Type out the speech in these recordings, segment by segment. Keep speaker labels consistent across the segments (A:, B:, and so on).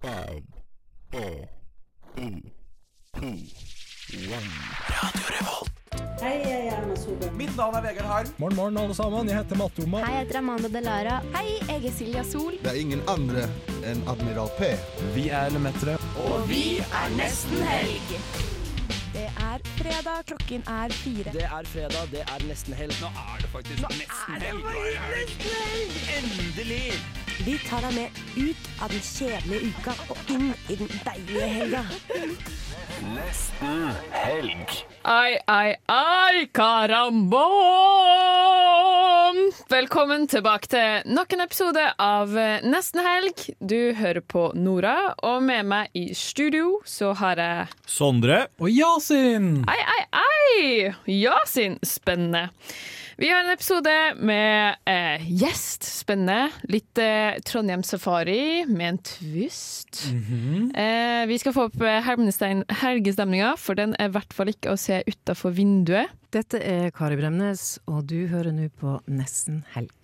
A: Five, four, three, two, one.
B: Hei, jeg er Erna Solberg.
C: Mitt navn er Vegard Harm.
D: Morgen, morgen, alle sammen. Jeg heter Matte Oma.
E: Hei, jeg heter Amanda Delara. Hei, jeg er Silja Sol.
F: Det er ingen andre enn Admiral P.
D: Vi er Lemetere.
E: Det er fredag, klokken er fire.
C: Det er fredag, det er nesten helg. Nå er det faktisk nesten helg. Endelig!
G: Vi tar deg med ut av den kjedelige uka og inn i den deilige helga.
H: Ai, ai, ai, karambom! Velkommen tilbake til nok en episode av eh, Nesten helg. Du hører på Nora, og med meg i studio så har jeg
D: Sondre. Og Yasin.
H: Ai, ai, ai! Yasin. Spennende. Vi har en episode med eh, gjest. Spennende. Litt eh, Trondheim Safari med en twist. eh, vi skal få opp eh, Helmestein- helgestemninga, for den er i hvert fall ikke å se utafor vinduet.
I: Dette er Kari Bremnes, og du hører nå på Nesten helg.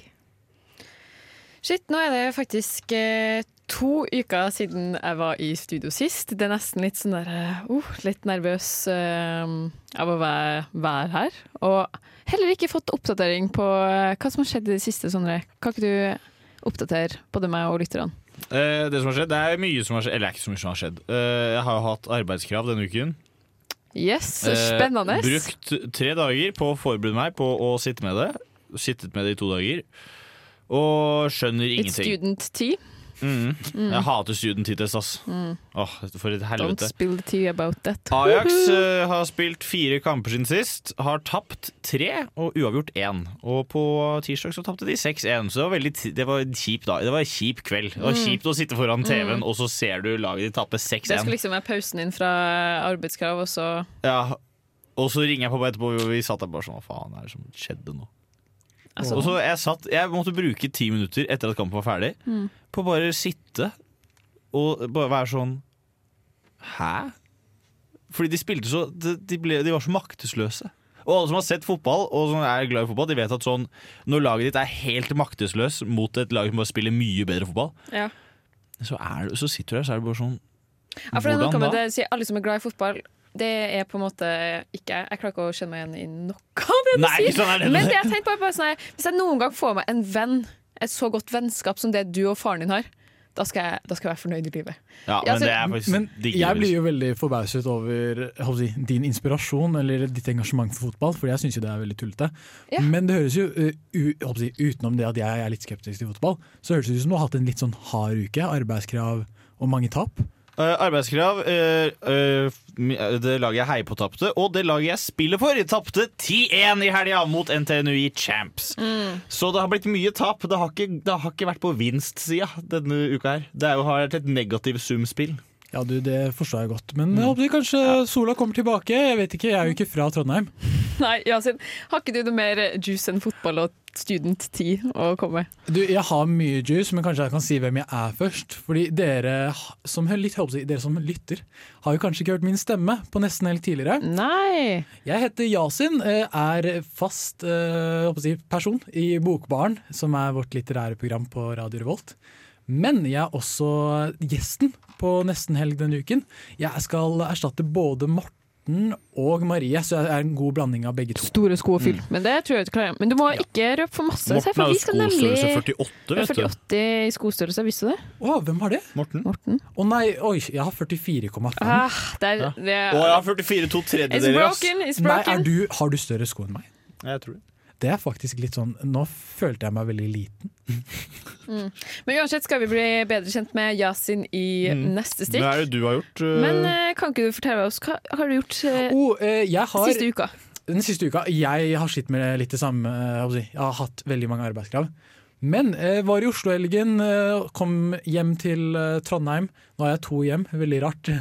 H: Shit, nå er det faktisk eh, to uker siden jeg var i studio sist. Det er nesten litt sånn der eh, uh, Litt nervøs eh, av å være, være her. Og heller ikke fått oppdatering på eh, hva som har skjedd i det siste, Sondre. Kan ikke du oppdatere både meg og lytterne?
J: Eh, det som har skjedd, det er mye som har skjedd Eller det er ikke så mye som har skjedd Eh, Jeg har jo hatt arbeidskrav denne uken
H: Yes,
J: Eh,
H: spennende.
J: Brukt tre dager på å forberede meg på å sitte med det Sittet med det i to dager Og skjønner
H: Litt
J: ingenting
H: student tea.
J: Mhm. Jeg hater studenttitest, ass Åh, For et
H: Mm. Don't
J: helvete
H: spill the tea about that.
J: Ajax eh, har spilt fire kamper siden sist Har tapt tre og uavgjort én Og på tirsdag så tapte de 6-1 Så det var veldig ti- det var en kjip dag Det var en kjip kveld Det var kjipt å sitte foran TV-en Og så ser du laget de tappe 6-1
H: Det skulle liksom være pausen din fra arbeidskrav, og så
J: Ja, og så ringer jeg på meg etterpå, og vi satt der bare sånn Hva faen er det som skjedde nå?
H: Altså-
J: og så jeg satt Jeg måtte bruke ti minutter etter at kampen var ferdig,
H: Mm.
J: på å bare sitte og bare være sånn Hæ? Fordi de spilte så De, de, ble, de var så maktesløse. Og alle som har sett fotball, og som er glad i fotball, de vet at sånn Når laget ditt er helt maktesløs mot et lag som bare spiller mye bedre fotball,
H: ja.
J: så, er du, så sitter du der, så er det bare sånn
H: Ja, for det er noe
J: Hvordan
H: med
J: da?
H: det, å si, Alle som er glad i fotball, det er på en måte ikke jeg. Jeg klarer ikke å kjenne meg igjen i noe av det du
J: Nei, ikke
H: sier.
J: sånn er det.
H: Men det jeg tenkte på er bare sånn her, hvis jeg noen gang får meg en venn, et så godt vennskap som det du og faren din har, da skal jeg, da skal jeg være fornøyd i livet.
J: Ja,
H: Ja,
J: men
H: så-
J: det er faktisk
D: Men
J: digg,
D: jeg
J: liksom.
D: blir jo veldig forbauset over jeg håper å si, din inspirasjon eller ditt engasjement for fotball, for jeg syns jo det er veldig tullete.
H: Ja.
D: Men det høres jo, eh, u, jeg håper å si, utenom det at jeg er litt skeptisk til fotball, så høres det ut som du har hatt en litt sånn hard uke. Arbeidskrav og mange tap.
J: Eh, arbeidskrav. eh, eh, det laget jeg heier på tapte, og det laget jeg spiller for, tapte 10-1 i helga mot NTNUI Champs.
H: Mm.
J: Så det har blitt mye tap. Det har ikke, det har ikke vært på vinstsida denne uka her. Det er jo, har vært et negativt sumspill.
D: Ja, du, det forstår jeg godt, men jeg håper de kanskje sola kommer tilbake. Jeg vet ikke, jeg er jo ikke fra Trondheim.
H: Nei, Yasin, har ikke du noe mer juice enn fotball og student-tid å komme med?
D: Du, jeg har mye juice, men kanskje jeg kan si hvem jeg er først. Fordi dere ha- som, hø- litt, håper jeg, dere som lytter, har jo kanskje ikke hørt min stemme på nesten helt tidligere.
H: Nei!
D: Jeg heter Yasin, eh, er fast eh, håper jeg, å si, person i Bokbaren, som er vårt litterære program på Radio Revolt. Men jeg er også gjesten på Nesten helg denne uken. Jeg skal erstatte både Morten og Marie, så jeg er en god blanding av begge to.
H: Store sko å fylle. Mm. Men det tror jeg du klarer. Men du må ikke røpe for masse. se, for vi skal nemlig
J: 48,
H: 48 i skostørrelse, visste du det?
D: Å, hvem har det?
J: Morten.
H: Morten?
D: Å nei, oi, jeg har 44,5.
H: Ah, det er, det
J: Å, jeg har 44 to
H: It's
J: tredjedeler, ass.
H: broken, it's
D: Nei, er
H: broken.
D: du, har du større sko enn meg?
J: Jeg tror det.
D: Det er faktisk litt sånn Nå følte jeg meg veldig liten.
H: Men uansett skal vi bli bedre kjent med Yasin i
D: Mm.
H: neste stikk.
J: Hva er det du har gjort? eh,
H: Men eh, kan ikke du fortelle oss hva har du gjort eh,
D: Oh, eh, jeg har,
H: siste uka?
D: den siste uka Jeg har slitt med litt det samme. eh, hva skal Jeg si. Jeg har hatt veldig mange arbeidskrav. Men eh, var i Oslo i helgen, eh, kom hjem til eh, Trondheim. Nå har jeg to hjem, veldig rart.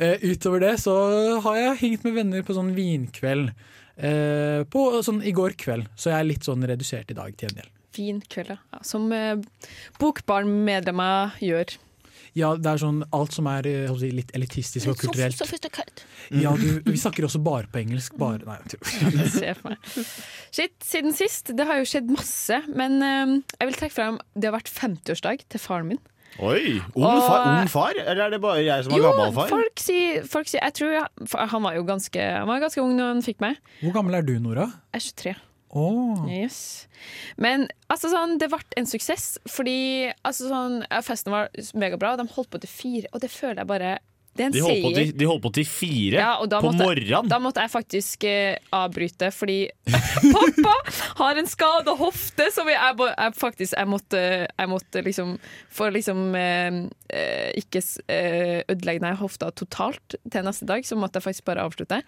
D: eh, utover det så har jeg hengt med venner på sånn vinkveld. Eh, på, sånn i går kveld, så jeg er litt sånn redusert i dag til en del.
H: Fin kveld, ja. Ja, Som eh, bokbarnmedlemmer gjør.
D: Ja, det er sånn alt som er eh, hva skal jeg si, litt elitistisk og kulturelt.
E: sofistikert.
D: Ja, du, vi snakker også bare på engelsk. Bare, nei,
H: kan jeg se for meg. Shit, siden sist. Det har jo skjedd masse. Men eh, jeg vil trekke frem det har vært 50-årsdag til faren min.
J: Å, Oi! Ung, far, ung far? Eller er det bare jeg som er
H: jo,
J: gammel far?
H: folk sier, folk sier Jeg tror jeg, for han var jo ganske, han var ganske ung når han fikk meg.
D: Hvor gammel er du, Nora?
H: Jeg er 23.
D: Åh.
H: Yes. Men altså, sånn, det ble en suksess, fordi altså, sånn, ja, festen var megabra. og De holdt på til fire, og det føler jeg bare Det er en
J: De holdt, på
H: seier.
J: til, de holdt på til fire
H: Ja, og da
J: på
H: måtte,
J: morgenen.
H: Da måtte jeg faktisk eh, avbryte, fordi pappa har en skada hofte som jeg, jeg, ba- jeg faktisk jeg måtte, jeg måtte liksom For liksom eh, eh, ikke s- eh, ødelegge den hofta totalt til neste dag, så måtte jeg faktisk bare avslutte.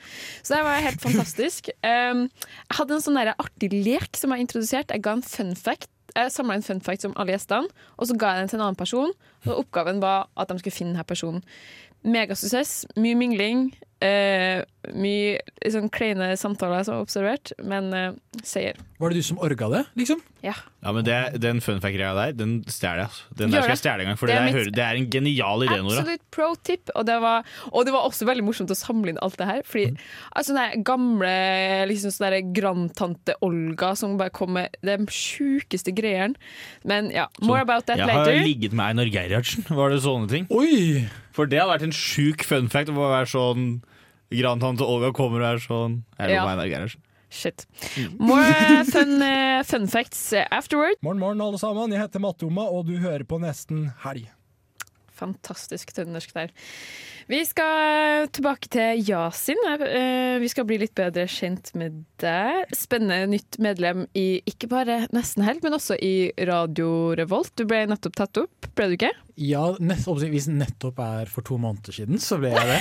H: Så det var helt fantastisk. Um, jeg hadde en sånn der artig lek som jeg introduserte. Jeg ga en fun fact. Jeg samla en fun fact om alle gjestene, og så ga jeg den til en annen person. Og oppgaven var at de skulle finne denne personen. Megasuksess. Mye mingling. Eh, mye sånn kleine samtaler som er observert, men eh, seier.
D: Var det du som orga det, liksom?
H: Ja.
J: Ja, men det, Den funfact-greia der, den stjeler jeg. altså. Den
H: Gjør
J: der skal
H: det.
J: jeg stjele en gang, for
H: Det
J: det,
H: er
J: der
H: mitt-
J: hører- det er en genial idé, Nora.
H: Absolutt pro tip. Og det, var, og det var også veldig morsomt å samle inn alt det her.
J: Mm.
H: Fordi altså, den der gamle liksom, sånn der grandtante Olga som bare kom med de sjukeste greiene. Men ja, more about that
J: jeg
H: later.
J: har ligget med Einar Gerhardsen, var det sånne ting?
D: Oi!
J: For det hadde vært en sjuk fun fact å bare være sånn Grandtante Olga kommer og er sånn Jeg
H: Ja.
J: lå med Einar Gerhardsen.
H: Shit.
J: Mm.
H: More eh, fun, eh, fun facts eh, afterward.
K: Morgen, morgen, alle sammen. Jeg heter Mattoma, og du hører på Nesten Helg.
H: Fantastisk trøndersk der. Vi skal tilbake til Yasin. Eh, Vi skal bli litt bedre kjent med deg. Spennende nytt medlem i ikke bare Nesten Helg, men også i Radio Revolt. Du ble nettopp tatt opp, ble du ikke?
D: Ja, nett, oppsett- hvis nettopp er for to måneder siden, så ble jeg det.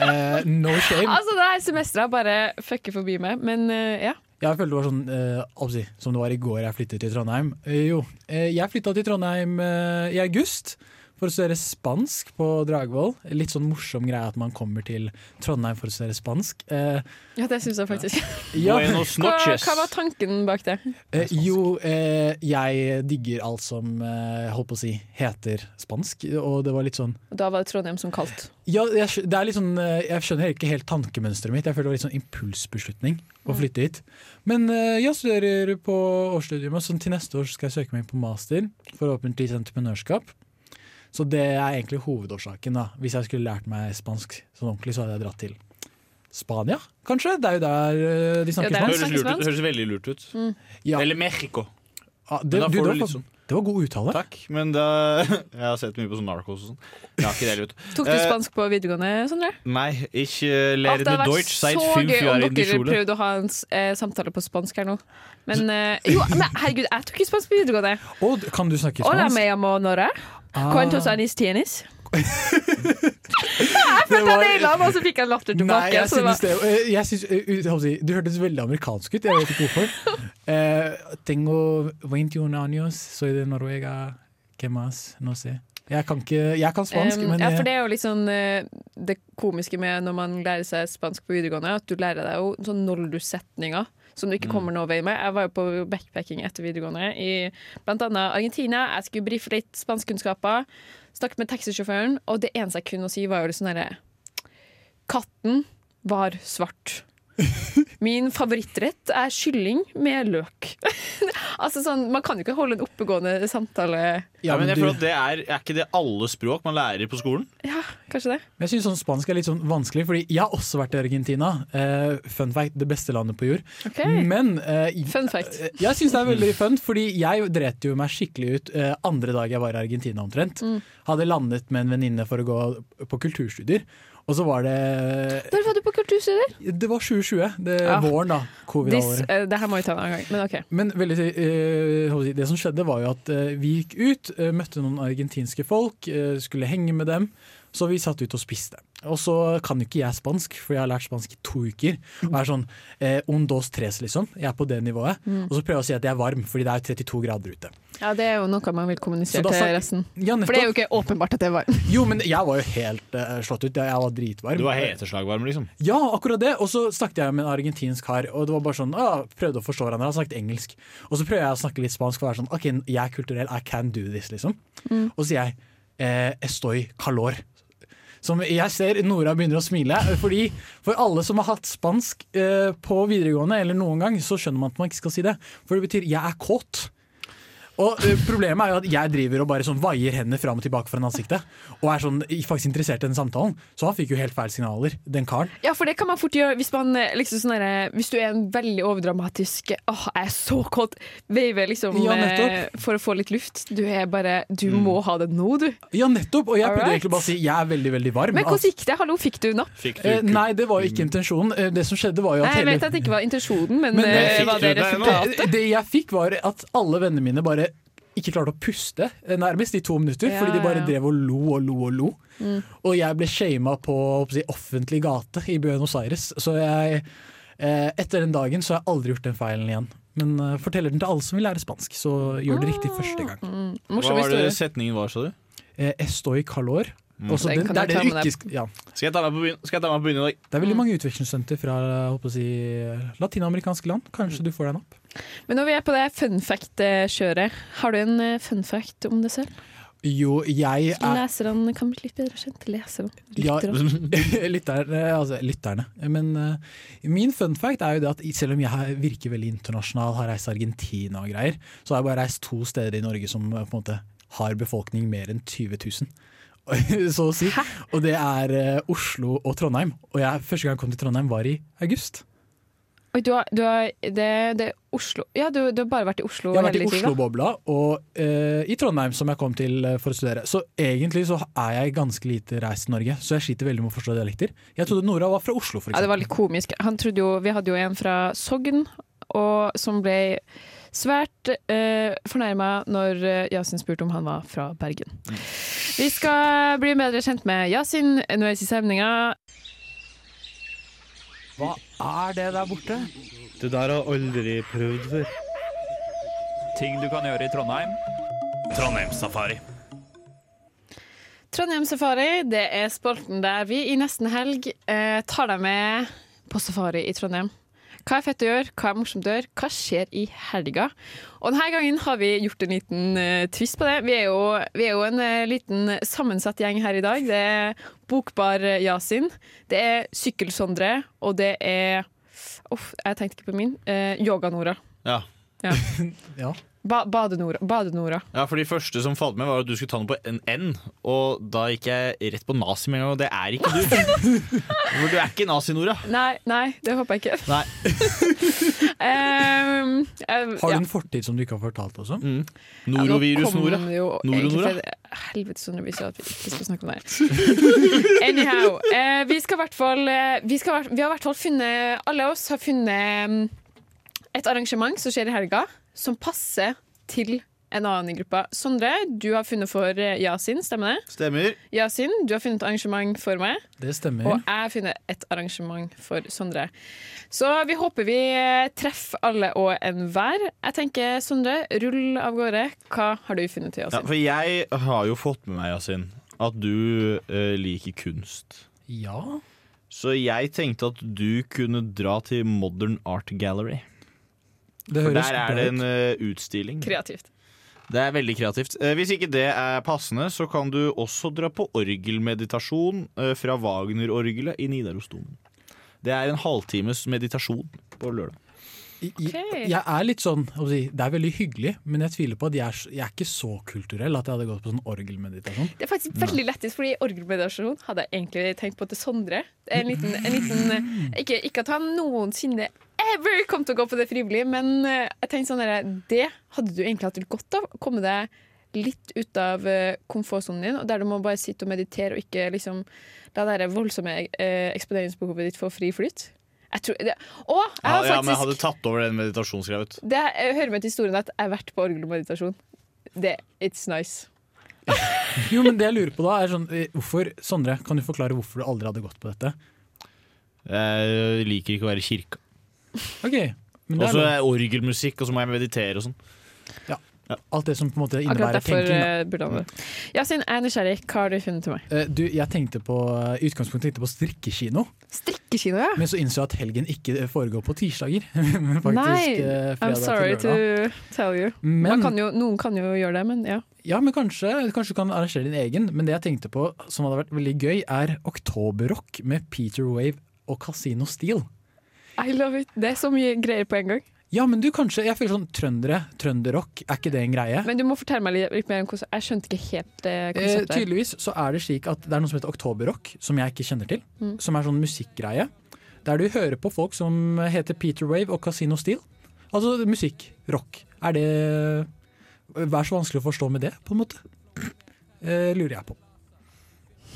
D: Eh, no shame.
H: Altså, det her semesteret har bare fucker forbi meg, men eh, ja.
D: Jeg følte det var sånn eh, oppsi, som det var i går jeg flyttet til Trondheim. Eh, jo, eh, jeg flytta til Trondheim eh, i august for å studere spansk på Dragvoll. Litt sånn morsom greie at man kommer til Trondheim for å studere spansk. Eh,
H: Ja, det syns jeg faktisk.
D: Ja. Buenos
H: Hva,
D: noches.
H: hva var tanken bak det?
D: Eh, jo, eh, jeg digger alt som eh, holdt på å si heter spansk, og det var litt sånn
H: Da var det Trondheim som kaldt.
D: ja, jeg, skj- det er litt sånn, eh, jeg skjønner ikke helt tankemønsteret mitt. Jeg føler det var litt sånn impulsbeslutning
J: Mm.
D: å flytte hit. Men eh, jeg studerer på årsstudium, og sånn til neste år så skal jeg søke meg inn på master. Forhåpentligvis entreprenørskap. Så det er egentlig hovedårsaken. da. Hvis jeg skulle lært meg spansk sånn ordentlig, så hadde jeg dratt til Spania, kanskje? Det er jo der eh, de snakker
J: høres,
D: spansk.
J: lurt ut, høres veldig lurt ut.
D: Mm. Ja.
J: Eller Mexico.
D: Ja, det,
J: Men da
D: du,
J: får
D: det,
J: du
D: var,
J: litt sånn-
D: det var god uttale.
J: Takk, men da, jeg har sett mye på sånn Narcos og sånn. Jeg har ikke det, vet
H: Tok du spansk på videregående, Sondre?
J: Nei, ikke
H: At
J: lære
H: det
J: det
H: hadde vært
J: deutsch, seit
H: så
J: fünf
H: gøy om
J: Jahre in die
H: dere
J: Schule.
H: prøvde å ha en s- eh, samtale på spansk her nå. Men eh, jo, men herregud, jeg tok ikke spansk på videregående.
D: Og kan du snakke
H: Hola,
D: spansk?
H: me llamo Nora.
D: Ah.
H: Cuantos anis tienes? jeg følte jeg naila ham, og så fikk jeg latter
D: Nei,
H: tilbake.
D: jeg
H: så det var-
D: synes det, eh, jeg synes, eh, ut- jeg holdt på å si, Du hørtes veldig amerikansk ut, jeg vet ikke hvorfor. Eh, tengo 21 años, soy de Noruega, que más, no sé. Jeg kan, ikke, jeg kan spansk,
H: Um,
D: men
H: ja, for
D: eh,
H: det er jo litt sånn eh, det komiske med når man lærer seg spansk på videregående, at du lærer deg jo sånn noldus-setninger som du
D: Mm.
H: ikke kommer noen vei med. Jeg var jo på backpacking etter videregående i blant annet Argentina. Jeg skulle brife litt spanskkunnskaper. Snakket med taxisjåføren, og det eneste jeg kunne si, var jo litt sånn herre Katten var svart. Min favorittrett er kylling med løk. altså sånn, Man kan jo ikke holde en oppegående samtale
J: Ja, men jeg føler at det er, er ikke det alle språk man lærer på skolen?
H: Ja, kanskje det.
D: men jeg synes sånn spansk er litt sånn vanskelig, Fordi jeg har også vært i Argentina. Eh, fun fact, det beste landet på jord.
H: Ok.
D: Men eh,
H: Fun fact.
D: eh, jeg syns det er veldig fun, fordi jeg dret jo meg skikkelig ut eh, andre dag jeg var i Argentina omtrent.
H: Mm.
D: Hadde landet med en venninne for å gå på kulturstudier, og så var det
H: Når var du på kulturstudier?
D: Det var 2020. Det
H: Ja.
D: Våren, da.
H: This,
D: Covid-året.
H: eh, det her må vi ta en annen gang, men ok.
D: Men veldig, eh, hva skal jeg si, det som skjedde, var jo at eh, vi gikk ut, eh, møtte noen argentinske folk, eh, skulle henge med dem. Så vi satt ut og spiste. Og så kan jo ikke jeg spansk, for jeg har lært spansk i to uker. Og er sånn eh, un, dos, tres, liksom. Jeg er på det nivået.
H: Mm.
D: Og så prøver jeg å si at jeg er varm, fordi det er 32 grader ute.
H: Ja, Det er jo noe man vil kommunisere
D: Så da
H: til
D: sa-
H: resten.
D: Ja, nettopp.
H: For det er jo ikke åpenbart at det var
D: Jo, men jeg var jo helt eh, slått ut. Jeg var dritvarm.
J: Du var heteslagvarm, liksom.
D: Ja, akkurat det. Og så snakket jeg med en argentinsk kar, og det var bare sånn, ah, prøvde å forstå hverandre. Han snakket engelsk. Og så prøver jeg å snakke litt spansk og være sånn, ok, jeg er kulturell, I can do this, liksom.
L: Mm.
D: Og så sier jeg, eh, estoy calor. Som jeg ser Nora begynner å smile, fordi for alle som har hatt spansk eh, på videregående eller noen gang, så skjønner man at man ikke skal si det. For det betyr 'jeg er kåt'. Og eh, Problemet er jo at jeg driver og bare sånn vaier hendene fram og tilbake foran ansiktet. Og er sånn faktisk interessert i den samtalen. Så han fikk jo helt feil signaler, den karen.
H: Ja, for det kan man fort gjøre hvis, man, eh, liksom, sånn der, hvis du er en veldig overdramatisk eh, Åh, jeg er så kåt! Veive liksom
D: Ja,
H: eh,
D: nettopp. Mm.
H: for å få litt luft. Du er bare Du må ha det nå, du.
D: Ja, nettopp! Og jeg prøvde
H: Alright.
D: egentlig bare å si jeg er veldig, veldig varm.
H: Men hvordan gikk det? Hallo, fikk du napp?
J: Fikk
D: Eh, nei, det var jo ikke intensjonen. Eh, Det som skjedde var jo
H: Nei,
D: at
H: jeg
D: hele
H: vet at det ikke var intensjonen, men,
D: Men,
H: eh,
D: eh,
H: var det
D: fikk du det nå?
H: resultatet?
D: Eh, Det jeg fikk var at alle vennene mine bare ikke klarte å puste eh, nærmest i to minutter,
H: Ja,
D: fordi de
H: ja, Mm.
D: bare
H: ja.
D: drev og lo og lo og lo. Og jeg ble shama på håper jeg, offentlig gate i Buenos Aires, så jeg eh, Etter den dagen så har jeg aldri gjort den feilen igjen. Men eh, forteller den til alle som vil lære spansk, så gjør det
H: Ah.
D: riktig første gang.
H: Mm,
J: Hva var det setningen var, sa du?
D: Eh, Estoy calor.
J: Mm.
D: Også
J: Den
D: den,
J: kan
D: det
J: jeg
D: er
J: ta
D: det du
J: med deg.
D: ikke sk- ja.
J: Skal jeg ta meg på byen, skal jeg ta meg på byen i dag?
D: Det er veldig mange utvekslingsstudenter fra jeg håper å si, latinamerikanske land. Kanskje du får deg en opp?
H: Men når vi er på det fun fact-kjøret, har du en eh, fun fact om deg selv?
D: Jo, jeg er
H: Leserne kan bli litt bedre kjent. Leserne.
D: Ja,
H: Lytterne.
D: lytterne, altså, lytterne. Men eh, min fun fact er jo det at selv om jeg har- virker veldig internasjonal, har reist til Argentina og greier, så har jeg bare reist to steder i Norge som eh, på en måte har befolkning mer enn 20 000. Så å si. Og det er eh, Oslo og Trondheim. Og jeg, første gang jeg kom til Trondheim, var i august.
H: Oi, du har, du har det, det er Oslo Ja, du, du har bare vært i Oslo
D: Jeg har vært i
H: hele tiden, da.
D: Oslo-bobla og eh, i Trondheim, som jeg kom til eh, for å studere. Så egentlig så er jeg ganske lite reist i Norge, så jeg sliter veldig med å forstå dialekter. Jeg trodde Nora var fra Oslo, for
H: Ja, det var
D: eksempel.
H: litt komisk. Han trodde jo, vi hadde jo en fra Sogn, og, som ble svært eh, fornærma når eh, Yasin spurte om han var fra Bergen.
D: Mm.
H: Vi skal bli bedre kjent med Yasin underveis i sendinga.
L: Hva er det der borte? Det der har aldri prøvd før. Ting du kan gjøre i Trondheim. Trondheimssafari.
H: Trondheim Safari, det er spalten der vi i nesten helg eh, tar deg med på safari i Trondheim. Hva er fett å gjøre, hva er morsomt å gjøre, hva skjer i helga? Og denne gangen har vi gjort en liten eh, twist på det. Vi er jo, vi er jo en eh, liten sammensatt gjeng her i dag. Det er Bokbar Yasin, det er Sykkel-Sondre, og det er Uff, jeg tenkte ikke på min. Eh, Yoga-Nora.
J: Ja.
H: Ja.
D: Ja.
H: Ba Bade-Nora. Bade-Nora.
J: Ja, for De første som falt med, var at du skulle ta noe på en N. Og da gikk jeg rett på nazi med en gang, og det er ikke du. For du er ikke nazi, Nora.
H: Nei, nei, det håper jeg ikke.
J: Nei.
H: Ehm, ehm,
D: Har du
H: ja.
D: en fortid som du ikke har fortalt oss om?
H: Ja, nå kom det jo egentlig fra- Helvete så nervøs jeg er at vi ikke skal snakke om det. Anyhow. eh, vi skal i hvert fall eh, vi, skal, i hvert- vi har i hvert fall funnet Alle oss har funnet mm, et arrangement som skjer i helga, som passer til en annen i gruppa. Sondre, du har funnet for eh, Yasin, stemmer det?
J: Stemmer.
H: Yasin, du har funnet et arrangement for meg.
D: Det stemmer.
H: Og jeg har funnet et arrangement for Sondre. Så vi håper vi treffer alle og enhver. Jeg tenker, Sondre, rull av gårde. Hva har du funnet til oss?
J: Ja, for
D: Altså-
J: jeg har jo fått med meg, Yasin, at du eh, liker kunst.
D: Ja.
J: Så jeg tenkte at du kunne dra til Modern Art Gallery.
D: Det
J: For
D: høres
J: der
D: bra
J: er det
D: ut.
J: en eh, utstilling.
H: Kreativt.
J: Det er veldig kreativt. Eh, Hvis ikke det er passende, så kan du også dra på orgelmeditasjon eh, fra Wagner-orgelet i Nidarosdomen. Det er en halvtimes meditasjon på lørdag.
D: I- i- Jeg er litt sånn, hva skal jeg si, Det er veldig hyggelig, men jeg tviler på at jeg er, s- jeg er ikke så kulturell at jeg hadde gått på sånn orgelmeditasjon.
H: Det er faktisk veldig lettest, fordi orgelmeditasjon hadde jeg egentlig tenkt på til Sondre. Det er En liten, en liten eh, ikke, ikke at han noensinne ever kom til å gå på det frivillig, men eh, jeg tenkte sånn der, det hadde du egentlig hatt litt godt av. Komme deg litt ut av eh, komfortsonen din, og der du må bare sitte og meditere og ikke liksom la det der voldsomme eh, eksponeringsbehovet ditt få fri flyt. Jeg tror det, Og jeg
J: Ja,
H: har
J: ja, men jeg
H: faktisk
J: hadde tatt over den meditasjonsgreia. vet du.
H: det jeg hører med til historien at jeg har vært på orgelmeditasjon. Det, it's nice.
D: Jo, men det jeg lurer på da er sånn, eh, hvorfor, Sondre, kan du forklare hvorfor du aldri hadde gått på dette?
J: Jeg liker ikke å være i kirka.
D: Ok, men
J: Og
D: det er
J: så
D: lov.
J: er orgelmusikk, og så må jeg meditere og sånn.
D: Alt det som på en måte
H: Akkurat
D: innebærer
H: derfor
D: tenking. da.
H: eh, burde han det. Yasin, jeg er nysgjerrig. Hva har du funnet til meg?
D: Eh, Du, jeg tenkte på, eh, I utgangspunktet tenkte jeg på strikkekino,
H: Strikkekino, ja.
D: men så innså jeg at helgen ikke eh, foregår på tirsdager. men faktisk eh,
H: Nei,
D: fredag
H: I'm sorry
D: til
H: to
D: lørdag.
H: tell you.
D: Men-
H: Man kan jo, noen kan jo gjøre det, men ja.
D: Ja, men kanskje, kanskje du kan arrangere din egen. Men det jeg tenkte på som hadde vært veldig gøy, er Oktoberrock med Peter Wave og Casino Steel.
H: I love it. Det er så mye greier på en gang.
D: Ja, men du kanskje Jeg føler sånn trøndere, trønderrock, er ikke det en greie?
H: Men du må fortelle meg litt, litt mer om hvordan Jeg skjønte ikke helt det
D: Eh,
H: konseptet.
D: tydeligvis så er det slik at det er noe som heter oktoberrock, som jeg ikke kjenner til.
H: Mm.
D: Som er sånn musikkgreie. Der du hører på folk som heter Peter Wave og Casino Steel. Altså musikk. Rock. Er det Vær så vanskelig å forstå med det, på en måte. Eh, lurer jeg på.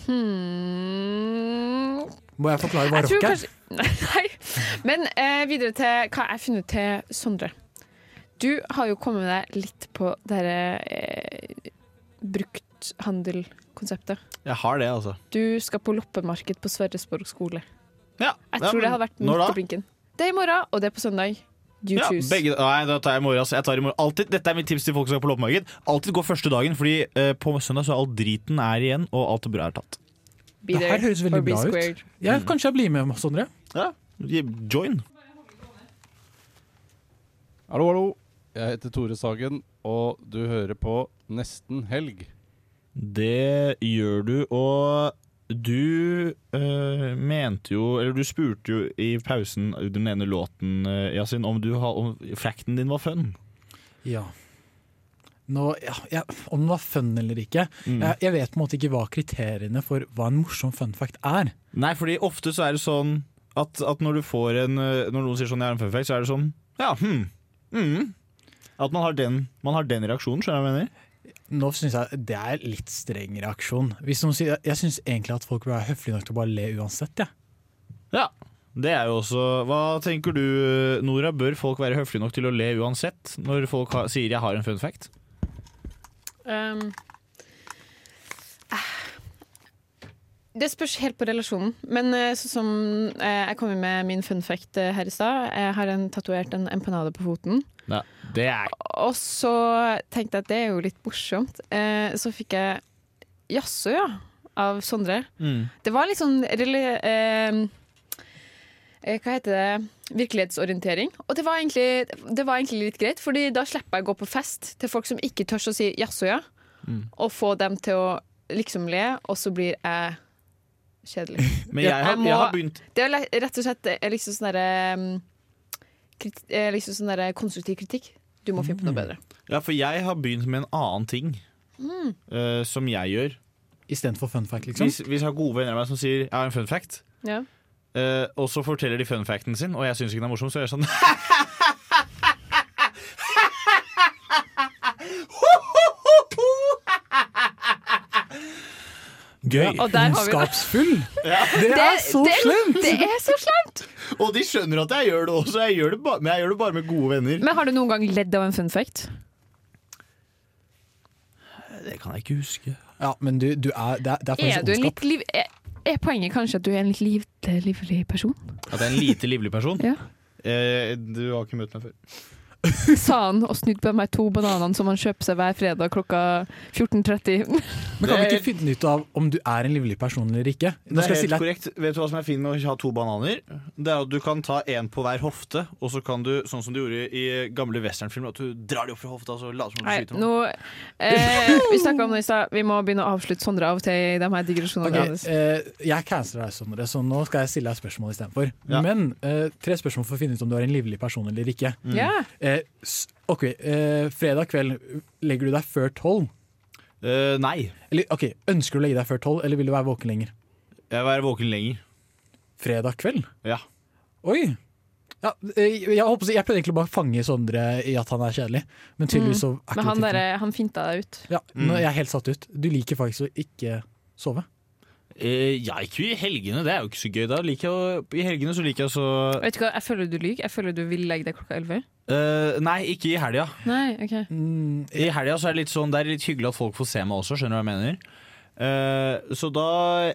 H: Hmm.
D: Må jeg forklare hva
H: Jeg tror
D: rock er?
H: kanskje- Nei. Men eh, videre til hva jeg har funnet til Sondre. Du har jo kommet deg litt på det her, eh, brukthandelkonseptet.
J: Jeg har det, altså.
H: Du skal på loppemarked på Sverresborg skole. jeg
J: ja,
H: tror
J: men
H: det hadde vært
J: når
H: midt
J: da?
H: på blinken. Det er i morgen, og det er på søndag. You
J: Ja,
H: choose.
J: begge, nei, da tar jeg i morgen. Altså. Jeg tar i morgen. Alltid, dette er mitt tips til folk som er på loppemarked. Alltid gå første dagen, Fordi eh, på søndag så er all driten er igjen, og alt det bra er tatt.
H: Be
D: Det
H: there
D: her høres
H: or
D: veldig
H: be
D: bra
H: squared.
D: ut. Ja, kanskje jeg blir med, Sondre.
J: Ja, join.
M: Hallo, hallo. Jeg heter Tore Sagen, og du hører på Nesten helg.
J: Det gjør du, og du eh, mente jo Eller du spurte jo i pausen den ene låten, eh, Yasin, om, du ha- om frakten din var fun.
D: Ja. Nå, ja, jeg, om den var fun eller ikke. Jeg, jeg vet på en måte ikke hva kriteriene for hva en morsom fun fact er.
J: Nei, fordi ofte så er det sånn at, at når du får en eh, Når noen sier sånn 'jeg har en fun fact', så er det sånn Ja, hm. Mm. At man har, den, man har den reaksjonen, skjønner du hva jeg mener?
D: Nå synes jeg det er litt streng reaksjon. Hvis noen sier, jeg syns egentlig at folk bør være høflige nok til å bare le uansett. Ja.
J: Ja. Det er jo også Hva tenker du, Nora? Bør folk være høflige nok til å le uansett når folk har, sier 'jeg har en fun fact'?
H: Um, eh, det spørs helt på relasjonen. Men eh, sånn som eh, jeg kommer med min fun fact eh, her i stad. Jeg har en tatovert en empanade på foten.
J: Nei, det er
H: Og så tenkte jeg at det er jo litt morsomt. Eh, så fikk jeg 'jaså, ja' av Sondre.
J: Mm.
H: Det var litt sånn rela- eh, eh, Hva heter det? Virkelighetsorientering. Og det var, egentlig, det var egentlig litt greit, Fordi da slipper jeg å gå på fest til folk som ikke tør å si 'jaså, ja',
J: Mm.
H: og få dem til å liksom le, og så blir jeg kjedelig.
J: Men jeg har- jeg har begynt-
H: Det er le- rett og slett eh, liksom sånn derre mm, krit- eh, Liksom sånn derre konstruktiv kritikk. Du må finne på
J: Mm.
H: noe bedre.
J: Ja, for jeg har begynt med en annen ting
H: Mm.
J: eh, som jeg gjør.
D: Istedenfor fun fact, liksom?
J: Hvis, hvis jeg har gode venner av meg som sier 'jeg har en fun fact',
H: Ja.
J: eh, og så forteller de fun facten sin, og jeg syns ikke den er morsom, så gjør jeg sånn Gøy.
H: Og der har vi det.
D: Det er så
H: det-
D: slemt!
H: Det er så slemt!
J: Og de skjønner at jeg gjør det også, jeg gjør det ba, men jeg gjør det bare med gode venner.
H: Men har du noen gang ledd av en fun fact?
J: Det kan jeg ikke huske.
D: Ja, men du, du er, det, er, det
H: Er,
D: er faktisk
H: du en
D: ondskap.
H: litt liv... Er, er poenget kanskje at du er en litt liv, livlig person?
J: At jeg er en lite livlig person?
H: Ja.
J: Eh, du har ikke møtt meg før.
H: Sa han og snudde på meg to bananene som han kjøper seg hver fredag klokka 14.30.
D: Men kan vi ikke finne ut av om du er en livlig person eller ikke? Nå
J: Det er
D: skal jeg
J: helt
D: stille deg
J: korrekt. Vet du hva som er fint med å ha to bananer? Det er at du kan ta en på hver hofte, og så kan du, sånn som du gjorde i gamle westernfilmer, at du drar de opp fra hofta og så later som om du
H: Nei,
J: skyter
H: nå,
J: noen.
H: eh, vi snakka om det i stad. Vi må begynne å avslutte Sondre av og til i de her digresjonene.
D: Ok,
H: hans.
D: eh, jeg canceler deg, Sondre, så nå skal jeg stille deg spørsmål istedenfor. Men eh, tre spørsmål for å finne ut om du er en livlig person eller ikke.
H: Mm. Ja.
D: Eh, s- ok, eh, Fredag kveld, legger du deg før tolv?
J: Eh, nei.
D: Eller, ok, Ønsker du å legge deg før tolv, eller vil du være våken lenger?
J: Jeg vil være våken lenger.
D: Fredag kveld?
J: Ja.
D: Oi! Ja, eh, jeg, håper, jeg prøvde egentlig å bare å fange Sondre i at han er kjedelig, men tydeligvis så
H: Mm.
D: er
H: Men han,
D: ikke det
H: der,
D: tilfellet.
H: han finta deg ut.
D: Ja, Nå er jeg helt satt ut. Du liker faktisk å ikke sove.
J: Eh, ja, ikke i helgene, det er jo ikke så gøy. Da liker jeg, å- I helgene så liker jeg så
H: Vet du hva, Jeg føler du lyver. Jeg føler du vil legge deg klokka 11.
J: Eh, Nei, ikke i helga.
H: Nei, ok
J: I helga så er det litt sånn Det er litt hyggelig at folk får se meg også, skjønner du hva jeg mener? Eh, så da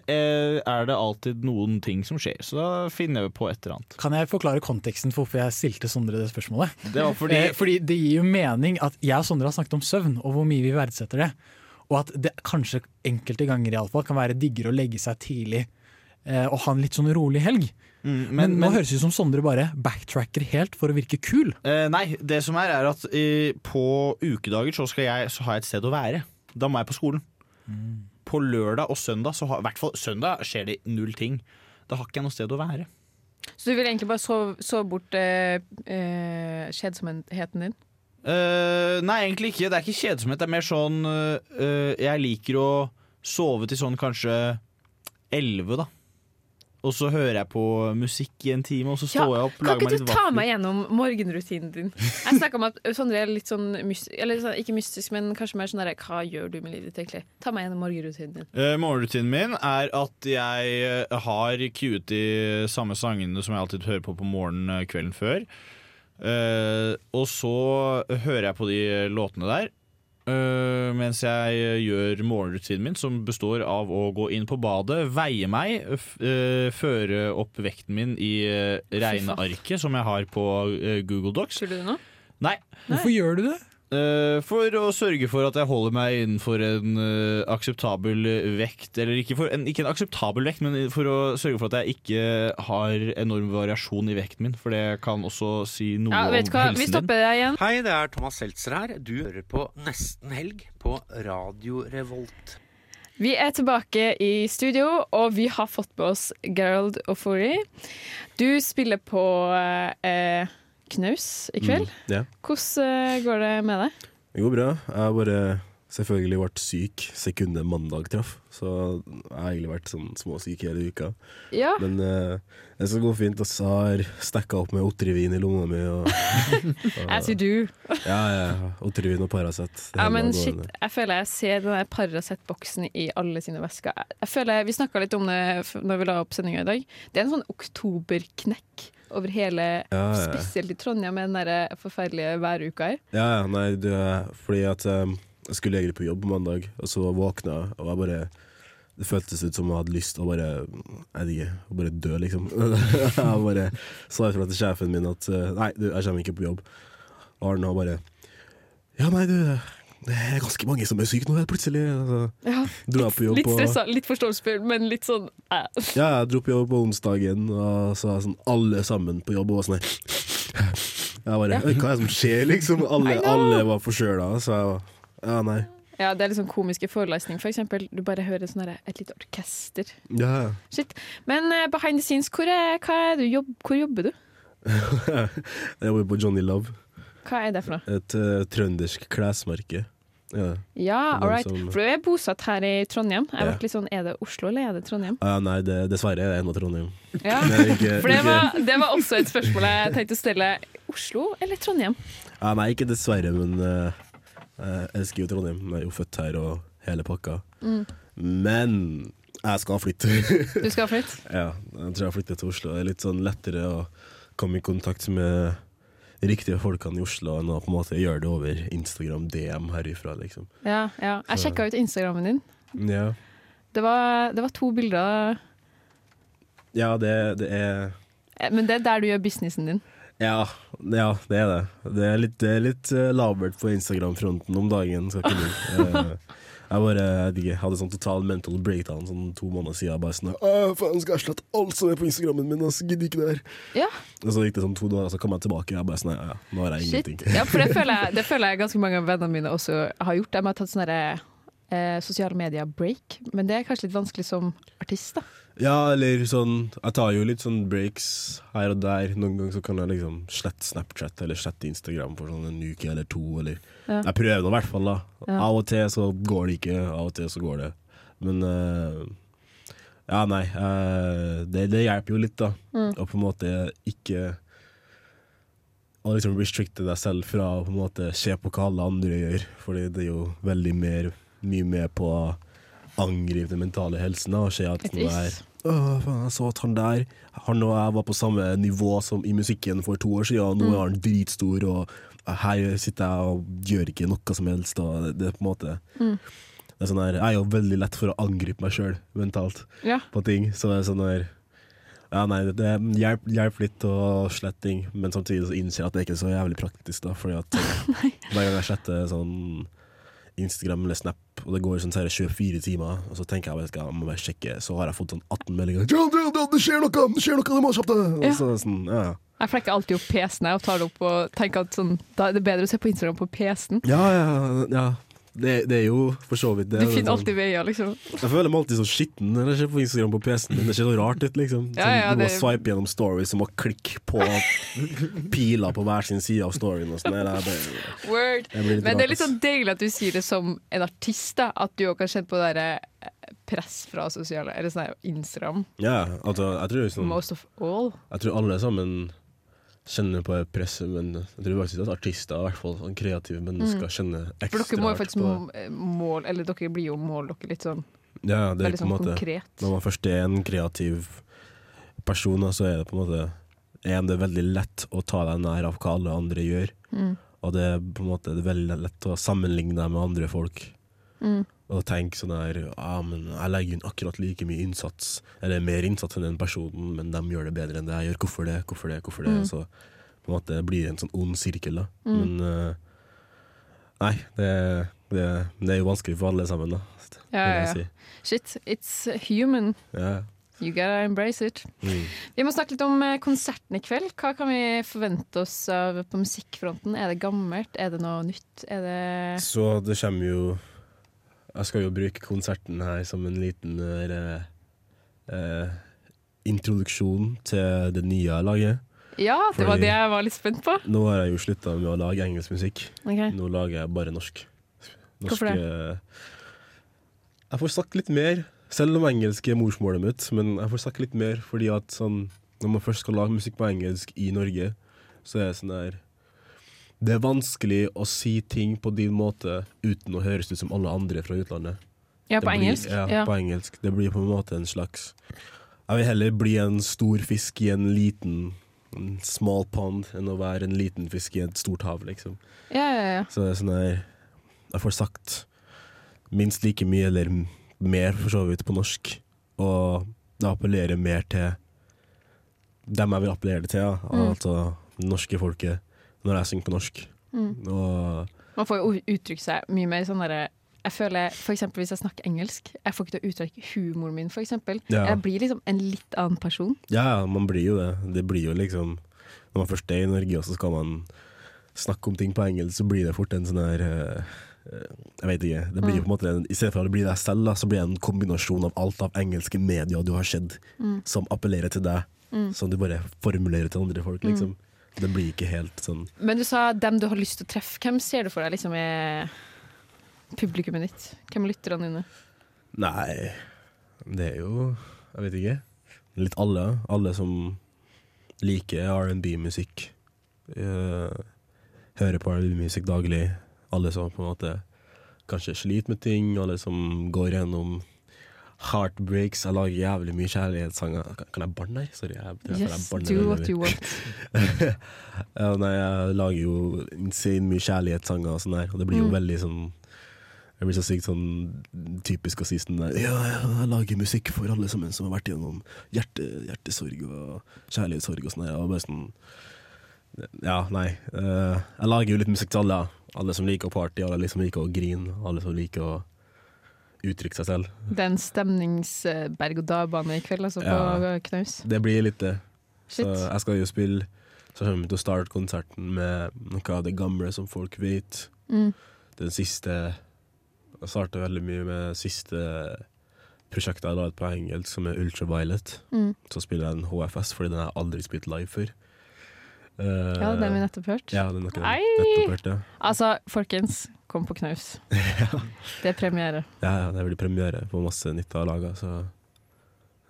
J: eh, er det alltid noen ting som skjer, så da finner jeg på et eller annet.
D: Kan jeg forklare konteksten for hvorfor jeg stilte Sondre det spørsmålet?
J: Det var fordi-
D: Eh, fordi det gir jo mening at jeg og Sondre har snakket om søvn, og hvor mye vi verdsetter det. Og at det kanskje enkelte ganger i alle fall kan være diggere å legge seg tidlig eh, og ha en litt sånn rolig helg.
J: Mm,
D: men,
J: men-
D: nå
J: men-
D: høres det ut som Sondre bare backtracker helt for å virke kul.
J: Eh, nei, det som er, er at eh, på ukedager så, skal jeg, så har jeg et sted å være. Da må jeg på skolen. På lørdag og søndag, så har, i hvert fall søndag skjer det null ting. Da har ikke jeg noe sted å være.
H: Så du vil egentlig bare sove, sove bort eh, eh, kjedsomheten din?
J: Eh, nei, egentlig ikke. Det er ikke kjedsomhet. Det er mer sånn eh, Jeg liker å sove til sånn kanskje elleve, da. Og så hører jeg på musikk i en time, og så står jeg opp,
H: Kan
J: lager meg
H: ikke
J: litt
H: du ta
J: vafler.
H: meg gjennom morgenrutinen din? Jeg snakka om at Sondre er litt sånn mystisk, eller sånn- ikke mystisk, men kanskje mer sånn derre Hva gjør du med livet ditt, egentlig? Ta meg gjennom morgenrutinen din.
J: Eh, morgenrutinen min er at jeg eh, har queuet de samme sangene som jeg alltid hører på på morgenen eh, kvelden før. Eh, og så hører jeg på de låtene der eh, mens jeg eh, gjør morgenrutinen min, som består av å gå inn på badet, veie meg, f eh, føre opp vekten min i eh,
H: faen.
J: regnearket som jeg har på eh, Google Docs.
H: Tuller du nå?
J: Nei.
D: Hvorfor gjør du det?
J: Eh, for å sørge for at jeg holder meg innenfor en eh, akseptabel eh, vekt. Eller ikke, for, en, ikke en akseptabel vekt, men for å sørge for at jeg ikke har enorm variasjon i vekten min. For det kan også si noe
H: Ja, vet du
J: om
H: hva, vi
J: helsen din.
H: stopper deg igjen.
B: Hei, det er Thomas Seltzer her. Du hører på Nesten Helg på Radio Revolt.
H: Vi er tilbake i studio, og vi har fått med oss Gerald Ofori. Du spiller på eh, Knaus i kveld.
N: Mm, ja.
H: Hvordan eh, går det med deg?
N: Det går bra. Jeg har bare selvfølgelig vært syk sekundet mandag traff, så jeg har egentlig vært sånn småsyk hele uka.
H: Ja.
N: Men eh, det skal gå fint. Jeg har stekka opp med Otrivin i lomma mi. Og,
H: As you do.
N: ja, ja, Otrivin og Paracet. Det
H: Ja,
N: hele
H: men
N: var
H: shit,
N: gående.
H: jeg føler jeg ser den der Paracet-boksen i alle sine vesker. Jeg- Jeg føler, Vi snakka litt om det f- når vi la opp sendinga i dag. Det er en sånn oktoberknekk over hele,
N: Ja, ja.
H: spesielt i Trondheim, med den der forferdelige væruka her.
N: Ja, ja, nei, du, fordi at eh, jeg skulle egentlig på jobb mandag, og så våkna jeg, og jeg bare Det føltes ut som jeg hadde lyst til å bare Jeg vet ikke, å bare dø, liksom. jeg bare sa ifra til sjefen min at eh, nei, du, jeg kommer ikke på jobb. Og Arne bare Ja, nei, du, det er ganske mange som er syke nå, helt plutselig. Og Så
H: Ja,
N: dro jeg på jobb
H: Litt
N: på
H: stressa, litt forståelsesfull, men litt sånn eh.
N: ja, jeg dro på jobb på onsdagen, og så var sånn, alle sammen på jobb og var sånn her. Jeg bare,
H: Ja.
N: «Oi, Hva er det som skjer, liksom?
H: I
N: Alle,
H: know.
N: alle var forkjøla, så jeg var Ja, nei.
H: Ja, det er liksom komiske forelesninger, for eksempel. Du bare hører sånn der, et lite orkester.
N: Ja.
H: Shit. Men eh, behind the scenes, hvor, er, hva er du, jobb, hvor jobber du?
N: Jeg jobber på Johnny Love,
H: Hva er det for noe?
N: et eh, trøndersk klesmerke. Ja.
H: Ja,
N: Det er
H: all right.
N: som-
H: For du er bosatt her i Trondheim. Jeg
N: Ja.
H: ble litt sånn, Er det Oslo eller er det Trondheim?
N: Ah, nei, det, dessverre er det ennå Trondheim.
H: Ja,
N: Det er ikke-
H: For det
N: ikke-
H: var, det var også et spørsmål jeg tenkte å stille. Oslo eller Trondheim?
N: Ja, Ah, nei, ikke dessverre, men eh, eh, jeg elsker jo Trondheim. Jeg er jo født her og hele pakka.
H: Mm.
N: Men jeg skal flytte.
H: Du skal flytte?
N: ja, jeg tror jeg flytter til Oslo. Det er litt sånn lettere å komme i kontakt med riktige folkene i Oslo enn å på en måte gjøre det over Instagram DM herifra, liksom.
H: Ja, ja. Jeg
N: Så-
H: sjekka ut Instagrammen din.
N: Ja,
H: Det var, det var to bilder,
N: ja det, det er
H: eh, men det er der du gjør businessen din.
N: Ja, ja, det er det. Det er litt, det er litt eh, labert på Instagram-fronten om dagen. Skal ikke lyve. Eh, Jeg bare jeg vet ikke, hadde sånn total mental breakdown sånn to måneder siden. Bare sånn «Åh, faen, skal jeg slette alt som er på Instagrammen min? ass, gidder ikke det her.
H: Ja,
N: Og så gikk det sånn to dager, og så kom jeg tilbake, og jeg bare sånn Ja, ja, nå har jeg
H: Shit.
N: ingenting.
H: Ja, for det føler, jeg, det føler jeg ganske mange av vennene mine også har gjort. De har tatt sånn derre, eh, sosiale medier-break, men det er kanskje litt vanskelig som artist, da.
N: Ja, eller sånn Jeg tar jo litt sånn breaks her og der. Noen ganger så kan jeg liksom slette Snapchat eller slette Instagram for sånn en uke eller to. Eller.
O: Ja.
N: Jeg prøver nå i hvert fall, da.
O: Ja.
N: Av og til så går det ikke, av og til så går det. Men eh, Ja, nei. eh, det, det hjelper jo litt, da.
O: Mm.
N: Å på en måte ikke å liksom restrikte deg selv fra å på en måte se på hva alle andre gjør, Fordi det er jo veldig mer, mye mer på å angripe den mentale helsen. da, Og se at
O: Et
N: noe er
O: is.
N: Å, faen, jeg så at han der Han og jeg var på samme nivå som i musikken for to år siden, og nå
O: Mm.
N: er han dritstor, og her sitter jeg og gjør ikke noe som helst. Og det, det er på en måte
O: Mm.
N: det er sånn her, Jeg er jo veldig lett for å angripe meg sjøl mentalt
O: Ja.
N: på ting. Så det er sånn her ja, nei, det- det hjelper hjelp litt å slette ting, men samtidig så innser jeg at det ikke er så jævlig praktisk. da, fordi at eh, Hver gang jeg sletter sånn Instagram eller Snap, og det går sånn seriøst 24 timer, og så tenker jeg bare skal jeg må bare sjekke, så har jeg fått sånn 18 meldinger. «John, John, John, Det skjer noe! Det skjer noe, du må kjappe deg!»
H: Ja.
N: Og så er det sånn, ja.
H: Jeg flekker alltid opp PC-en jeg og tar det opp og tenker at sånn, da er det bedre å se på Instagram på PC-en.
N: Ja, ja, ja. Det, det er jo for så vidt det.
H: Du
N: men
H: finner
N: sånn-
H: alltid veier, liksom.
N: Jeg føler meg alltid så skitten når jeg ser på Instagram på PC-en min. Det ser så rart ut, liksom.
H: Ja,
N: Sånn,
H: ja,
N: du må
H: det-
N: swipe gjennom stories og må klikke på piler på hver sin side av storyen. Og sånn. Nei, det er bare,
H: Word.
N: Jeg blir litt
H: Men det
N: rart,
H: er litt sånn deilig at du sier det som en artist, da. At du òg kan kjenne på det der, eh, press fra sosiale Eller sånn her, Instagram.
N: ja, altså, jeg tror liksom
H: Most of all.
N: Jeg tror alle sammen kjenner på presset, men jeg tror faktisk at artister, i hvert fall sånn kreative mennesker,
H: Mm.
N: kjenner
H: For
N: ekstra
H: dere må jo
N: hardt
H: faktisk
N: på det.
H: m- eh, mål Eller dere blir jo mål dere litt sånn
N: Ja, det er
H: veldig
N: på en
H: sånn
N: måte
H: konkret.
N: Når man først er en kreativ person, da, så er det på en måte en, det er veldig lett å ta deg nær av hva alle andre gjør.
H: Mm.
N: Og det er på en måte det er veldig lett å sammenligne deg med andre folk.
H: Mm.
N: Og tenke sånn her ja, men Jeg legger inn akkurat like mye innsats, eller mer innsats enn den personen, men de gjør det bedre enn det jeg gjør. Hvorfor det, hvorfor det, hvorfor det?
H: Mm.
N: Så på en måte blir det en sånn ond sirkel, da.
H: Mm.
N: Men eh, nei, det, det, det er jo vanskelig for alle sammen, da. vil
H: Ja,
N: jeg
H: ja, ja.
N: si.
H: Shit, it's human.
N: Ja.
H: You gotta embrace it.
N: Mm.
H: Vi må snakke litt om eh, konserten i kveld. Hva kan vi forvente oss av på musikkfronten? Er det gammelt? Er det noe nytt? Er det
N: Så det kommer jo Jeg skal jo bruke konserten her som en liten eh, eh, introduksjon til det nye jeg lager.
H: Ja, det var
N: Fordi-
H: det jeg var litt spent på.
N: Nå har jeg jo slutta med å lage engelsk musikk.
H: Ok.
N: Nå lager jeg bare norsk.
H: Hvorfor det?
N: det? Jeg får snakke litt mer, selv om engelsk er morsmålet mitt. Men jeg får snakke litt mer fordi at sånn, når man først skal lage musikk på engelsk i Norge, så er det sånn der Det er vanskelig å si ting på din måte uten å høres ut som alle andre fra utlandet.
H: Ja,
N: Det
H: på
N: blir-
H: engelsk,
N: Ja,
H: ja.
N: på engelsk. Det blir på en måte en slags Jeg vil heller bli en stor fisk i en liten en small pond enn å være en liten fisk i et stort hav, liksom.
H: Ja, ja, ja.
N: Så det er sånn her Jeg får sagt minst like mye, eller m- mer for så vidt, på norsk. Og det appellerer mer til dem jeg vil appellere det til, ja.
H: Mm.
N: altså det norske folket, når jeg synger på norsk.
H: Mm.
N: Og
H: Man får jo uttrykke seg mye mer sånn derre jeg føler, for eksempel Hvis jeg snakker engelsk, jeg får ikke til å uttrykke humoren min. For eksempel.
N: Ja.
H: Jeg blir liksom en litt annen person.
N: Ja, ja, man blir jo det. Det blir jo liksom Når man først er i Norge, og så skal man snakke om ting på engelsk, så blir det fort en sånn her eh, eh, Jeg vet ikke. Det blir jo på
O: Mm.
N: en måte en, I stedet for at det blir deg selv, da, så blir det en kombinasjon av alt av engelske medier du har sett,
O: Mm.
N: som appellerer til deg.
H: Mm.
N: Som du bare formulerer til andre folk, liksom.
H: Mm.
N: Det blir ikke helt sånn
H: Men du sa dem du har lyst til å treffe. Hvem ser du for deg liksom er publikummet ditt? Hvem er lytterne dine?
N: Nei, det er jo Jeg vet ikke. Litt alle. Alle som liker R&B-musikk. eh, hører på R&B-musikk daglig. Alle som på en måte kanskje sliter med ting. Alle som går gjennom heartbreaks. Jeg lager jævlig mye kjærlighetssanger. Kan- Kan jeg banne der? Sorry. Jeg, jeg, jeg
H: Yes,
N: banner
H: do
N: veldig
H: what
N: mye.
H: you want.
N: ja, nei, jeg lager jo insane mye kjærlighetssanger og sånn der, og det blir jo
H: Mm.
N: veldig sånn jeg blir så sykt sånn typisk å si sånn der Ja, ja, jeg lager musikk for alle sammen som har vært gjennom hjerte, hjertesorg og kjærlighetssorg og sånn der. Og bare sånn Ja, nei. eh, jeg lager jo litt musikk til alle. ja. Alle som liker å party, alle som liker å grine, alle som liker å uttrykke seg selv.
H: Det er en stemningsberg-og-dal-bane i kveld, altså, på
N: Ja.
H: knaus.
N: Det blir litt det. Så
H: Shit.
N: jeg skal jo spille Så kommer vi til å starte konserten med noe av det gamle som folk vet.
H: Mm.
N: Den siste Jeg starta veldig mye med siste prosjektet jeg la ut på engelsk, som er Ultraviolet.
H: Mm.
N: Så spiller jeg en HFS, fordi den har jeg aldri spilt live før. Eh,
H: Ja, den har vi nettopp hørt.
N: Ja, den har ikke
H: Ei!
N: nettopp hørt, ja.
H: Altså, folkens, kom på knaus. Det er premiere.
N: ja. ja, Det blir premiere på masse nytt jeg har laga, så